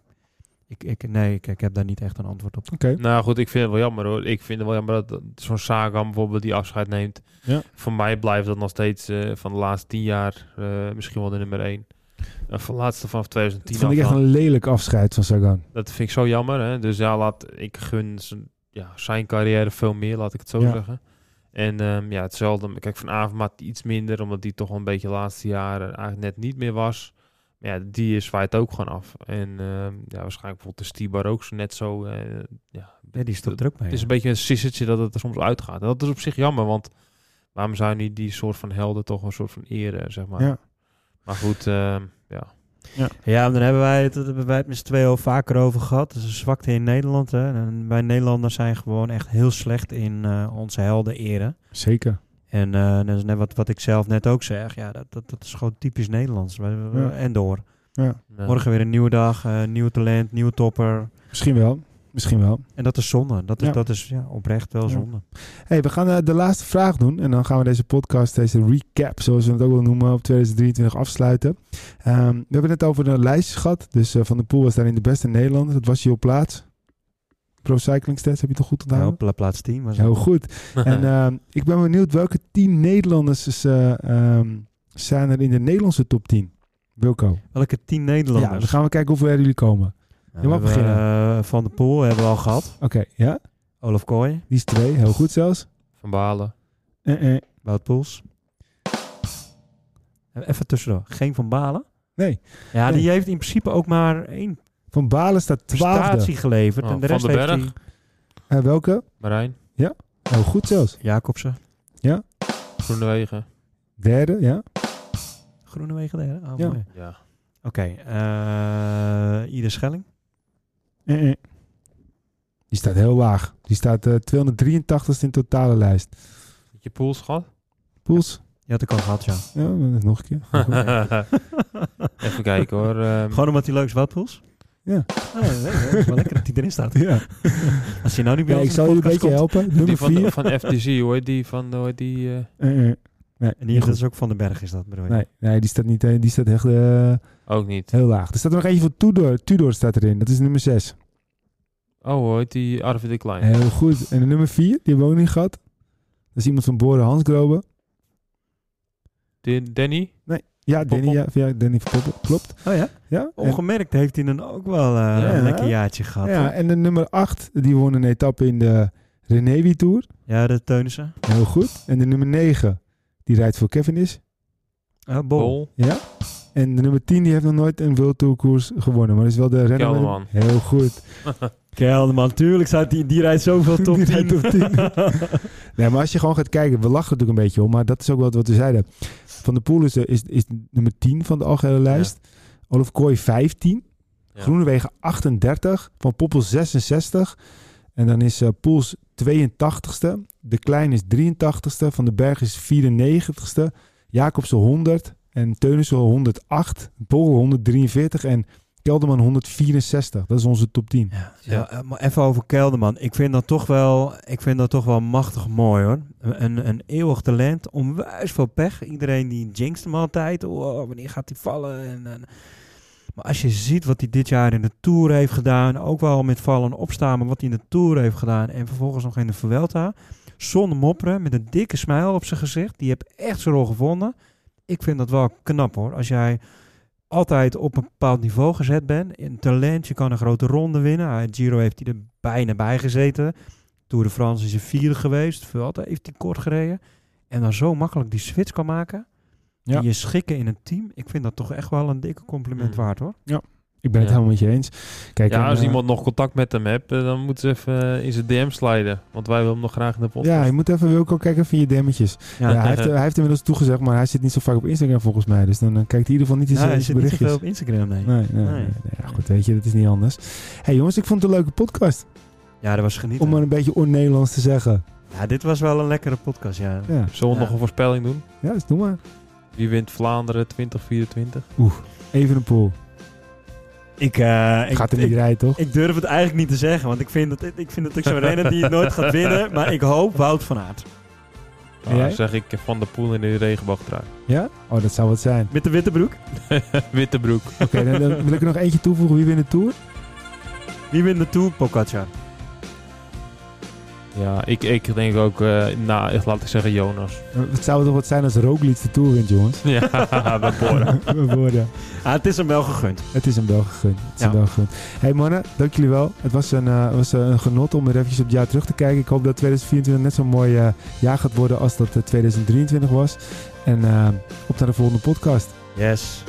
Speaker 3: Ik, ik, nee, ik, ik heb daar niet echt een antwoord op.
Speaker 1: Oké.
Speaker 2: Nou goed, ik vind het wel jammer hoor. Ik vind het wel jammer dat- dat zo'n Sagan bijvoorbeeld die afscheid neemt.
Speaker 1: Ja.
Speaker 2: Voor mij blijft dat nog steeds eh, van de laatste tien jaar eh, misschien wel de nummer één. Eh, van de laatste vanaf
Speaker 1: Dat
Speaker 2: 2010
Speaker 1: vond ik
Speaker 2: af
Speaker 1: echt
Speaker 2: aan.
Speaker 1: een lelijk afscheid van Sagan.
Speaker 2: Dat vind ik zo jammer. Hè? Dus ja, laat, ik gun zijn, ja, zijn carrière veel meer, laat ik het zo
Speaker 1: Ja.
Speaker 2: zeggen. En ehm, ja, hetzelfde. Kijk, Van Avermaat iets minder, omdat die toch wel een beetje de laatste jaren eigenlijk net niet meer was. Maar ja, die zwaait ook gewoon af. En ehm, ja, waarschijnlijk bijvoorbeeld de Stibar ook zo net zo. eh, ja,
Speaker 3: Ja, die stopt er ook mee.
Speaker 2: het is een beetje een sissertje dat het er soms uitgaat. En dat is op zich jammer, want waarom zou je niet die soort van helden toch een soort van eren, zeg maar.
Speaker 1: Ja.
Speaker 2: Maar goed, ehm, ja.
Speaker 3: Ja, maar dan hebben wij het, dat hebben wij het met z'n tweeën al vaker over gehad. Dat is een zwakte in Nederland. Hè. En wij Nederlanders zijn gewoon echt heel slecht in eh, onze helden eren.
Speaker 1: Zeker.
Speaker 3: En eh, dat is net wat, wat ik zelf net ook zeg. Ja, dat, dat, dat is gewoon typisch Nederlands. Wij- wij-
Speaker 1: Ja.
Speaker 3: En door.
Speaker 2: Ja.
Speaker 3: Morgen weer een nieuwe dag, eh nieuw talent, nieuwe topper.
Speaker 1: Misschien wel. Misschien wel.
Speaker 3: En dat is zonde. Dat is,
Speaker 1: Ja.
Speaker 3: dat is ja, oprecht wel
Speaker 1: Ja.
Speaker 3: zonde.
Speaker 1: Hey, we gaan eh, de laatste vraag doen. En dan gaan we deze podcast, deze recap, zoals we het ook wel noemen, op 2023 afsluiten. Ehm, we hebben het net over de lijstjes gehad. Dus eh, Van der Poel was daarin de beste Nederlander. Dat was je op plaats. Pro Cycling Stats, heb je toch goed
Speaker 3: Ja.
Speaker 1: onthouden?
Speaker 3: plaats 10 was
Speaker 1: Heel goed.
Speaker 2: Eh,
Speaker 1: En ehm, ik ben benieuwd welke 10 Nederlanders is, eh, ehm, zijn er in de Nederlandse top 10? Wilco.
Speaker 3: Welke 10
Speaker 1: Ja,
Speaker 3: Nederlanders?
Speaker 1: dan gaan we kijken hoe ver jullie komen.
Speaker 3: Nou,
Speaker 1: je mag
Speaker 3: we hebben, eh, Van de Poel hebben we al gehad.
Speaker 1: Oké, ja.
Speaker 3: Olaf Kooi,
Speaker 1: Die is twee. Heel goed zelfs.
Speaker 2: Van Balen.
Speaker 1: Eh, eh.
Speaker 3: Wout Poels. Even tussendoor. Geen Van Balen.
Speaker 1: Nee.
Speaker 3: Ja,
Speaker 1: Nee.
Speaker 3: die heeft in principe ook maar één
Speaker 1: Van Balen staat twaalfde.
Speaker 3: prestatie geleverd.
Speaker 2: Oh,
Speaker 3: en de
Speaker 2: Van
Speaker 3: rest
Speaker 2: den
Speaker 3: heeft
Speaker 2: Berg.
Speaker 3: hij...
Speaker 1: En welke?
Speaker 2: Marijn,
Speaker 1: Heel goed zelfs.
Speaker 3: Jacobsen.
Speaker 2: Groenewegen.
Speaker 1: Derde, ja.
Speaker 3: Groenewegen derde. Oh,
Speaker 1: Ja.
Speaker 3: mooi.
Speaker 2: Ja.
Speaker 3: Oké, eh Ieder Schelling.
Speaker 1: Eh, eh. Die staat heel laag. Die staat eh 283ste in totale lijst.
Speaker 2: Heb je Poels gehad?
Speaker 1: Poels?
Speaker 3: Je had ik al gehad, ja.
Speaker 1: Ja, nog een keer.
Speaker 2: Even kijken hoor. ehm,
Speaker 3: Gewoon omdat hij leuks wat poels?
Speaker 1: Ja.
Speaker 3: Oh, nee, nee, het is wel lekker dat hij erin staat.
Speaker 1: ja.
Speaker 3: Als je nou niet bij
Speaker 1: ja,
Speaker 3: ons
Speaker 1: ik zal
Speaker 3: in de
Speaker 1: jullie een
Speaker 3: podcast
Speaker 1: beetje helpen. Nummer
Speaker 2: die van,
Speaker 1: 4.
Speaker 2: van FTC hoor, die van hoor, die. eh,
Speaker 1: Eh, eh. Nee,
Speaker 3: komt. En hier
Speaker 1: goed.
Speaker 3: dat is ook Van den Berg, is dat bedoel je?
Speaker 1: Nee, nee, die staat, niet, eh, die staat echt eh,
Speaker 2: ook niet.
Speaker 1: heel laag. Er staat er nog eentje voor Tudor. Tudor staat erin. Dat is nummer 6.
Speaker 2: Oh hoor, die Arvid de Klein.
Speaker 1: Heel goed. En de nummer 4, die hebben we ook niet gehad. Dat is iemand van Boren Hansgrobe.
Speaker 2: Di- Danny?
Speaker 1: Ja, Danny, ja,
Speaker 2: Poppel.
Speaker 1: ja, Danny van Poppel. Klopt.
Speaker 3: Oh ja?
Speaker 1: Ja, en,
Speaker 3: Ongemerkt heeft hij dan ook wel eh,
Speaker 2: Ja,
Speaker 1: hè?
Speaker 3: een lekker jaartje gehad.
Speaker 1: ja,
Speaker 3: Ja,
Speaker 1: en de nummer 8, die won een etappe in de Renewi Tour.
Speaker 3: ja de Teunissen.
Speaker 1: Heel goed. En de nummer 9, die rijdt voor Kevin is.
Speaker 3: Ah, Bol.
Speaker 2: Bol.
Speaker 1: Ja. En de nummer 10, die heeft nog nooit een World Tour koers gewonnen. Maar is wel de renner. met-
Speaker 2: Kelderman.
Speaker 1: Heel goed.
Speaker 3: Kelderman, tuurlijk. Zou die, die rijdt zoveel top
Speaker 1: Die
Speaker 3: 10.
Speaker 1: rijdt top 10. Nee, maar als je gewoon gaat kijken, we lachen natuurlijk een beetje om, maar dat is ook wat, wat we zeiden. Van de Poel is, eh, is, is nummer 10 van de algehele lijst. Olaf Kooi 15.
Speaker 2: Ja.
Speaker 1: Groenewegen 38. Van Poppel 66. En dan is eh, Poels 82ste. De Klein is 83ste. Van den Berg is 94ste. Jacobsen 100. En Teunissen 108. Bol 143. En Kelderman 164. Dat is onze top 10.
Speaker 3: Ja,
Speaker 2: Ja.
Speaker 3: nou, eh, maar even over Kelderman. Ik vind dat toch wel, ik vind dat toch wel machtig mooi hoor. Een, een eeuwig talent, onwijs veel pech. Iedereen die jinxt hem altijd. Oh, wanneer gaat hij vallen? En, en- Maar als je ziet wat hij dit jaar in de Tour heeft gedaan, ook wel met vallen en opstaan, maar wat hij in de Tour heeft gedaan en vervolgens nog in de Vuelta, zonder mopperen, met een dikke smile op zijn gezicht. Die heeft echt zijn rol gevonden. Ik vind dat wel knap hoor. Als jij altijd op een bepaald niveau gezet ben. Een talent, je kan een grote ronde winnen. Ah, Giro heeft hij er bijna bij gezeten. Tour de France is een vierde geweest. Vuelta heeft hij kort gereden. En dan zo makkelijk die switch kan maken.
Speaker 1: Ja.
Speaker 3: En je schikken in een team. Ik vind dat toch echt wel een dikke compliment
Speaker 2: Mm.
Speaker 3: waard hoor.
Speaker 1: Ik ben het
Speaker 2: Ja.
Speaker 1: helemaal met je eens. Kijk, en,
Speaker 2: Ja, als
Speaker 1: eh,
Speaker 2: iemand nog contact met hem hebt, eh, dan moet ze even eh, in zijn DM sliden. Want wij willen hem nog graag in de
Speaker 1: Ja,
Speaker 2: podcast.
Speaker 1: je moet even Wilco kijken via je demmetjes. Ja, hij, heeft, hij heeft inmiddels toegezegd, maar hij zit niet zo vaak op Instagram volgens mij. Dus dan eh, kijkt hij in ieder geval niet in
Speaker 3: Nou,
Speaker 1: zijn
Speaker 3: hij
Speaker 1: zijn
Speaker 3: zit niet zoveel
Speaker 1: berichtjes.
Speaker 3: op Instagram, nee.
Speaker 1: Nee, nee, nee,
Speaker 3: Nee.
Speaker 1: nee. Ja, goed, weet je, dat is niet anders. hey, jongens, ik vond het een leuke podcast.
Speaker 3: Ja, dat was genieten.
Speaker 1: Om maar een beetje on-Nederlands te zeggen.
Speaker 3: Ja, dit was wel een lekkere podcast, ja.
Speaker 1: Ja,
Speaker 2: Zullen we
Speaker 3: Ja.
Speaker 2: nog een voorspelling doen?
Speaker 1: ja dus doe maar.
Speaker 2: Wie wint Vlaanderen 2024?
Speaker 1: Even een pool.
Speaker 3: Ik, eh, ik,
Speaker 1: Gaat hem
Speaker 3: ik-
Speaker 1: niet rijden, toch?
Speaker 3: ik durf het eigenlijk niet te zeggen, want ik vind dat ik, vind dat ik zo'n renner die het nooit gaat winnen. Maar ik hoop Wout van Aert.
Speaker 1: En jij?
Speaker 2: Dan zeg ik eh, Van der Poel in de regenboogtrui.
Speaker 1: Ja? Oh, dat zou wat zijn.
Speaker 3: Met de witte broek.
Speaker 2: Witte broek.
Speaker 1: Oké, dan, dan wil ik er nog eentje toevoegen. Wie wint de Tour?
Speaker 3: Wie wint de Tour? Pogacar.
Speaker 2: Ja, ik, ik denk ook, eh nou, echt, laat ik zeggen Jonas.
Speaker 1: Eh, Het zou toch wat zijn als Roglic de Tour wint, jongens?
Speaker 2: ja, bij Bora.
Speaker 1: We worden.
Speaker 3: Ah, het is hem wel gegund.
Speaker 1: Het is een wel gegund. Het is
Speaker 3: Ja.
Speaker 1: een wel gegund. hey mannen, dank jullie wel. Het was een, eh, was een genot om weer eventjes op het jaar terug te kijken. Ik hoop dat 2024 net zo'n mooi eh, jaar gaat worden als dat eh, 2023 was. En eh, op naar de volgende podcast.
Speaker 3: Yes.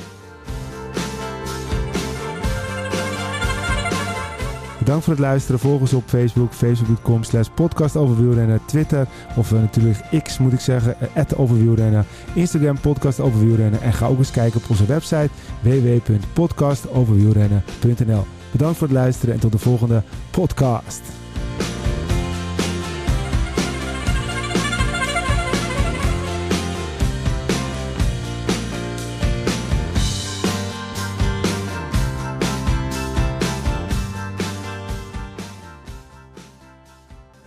Speaker 1: Bedankt voor het luisteren. Volg ons op Facebook, facebook.com slash podcast over wielrennen. Twitter, of eh, natuurlijk X moet ik zeggen, at overwielrennen. Instagram, podcast over wielrennen. En ga ook eens kijken op onze website www.podcastoverwielrennen.nl Bedankt voor het luisteren en tot de volgende podcast.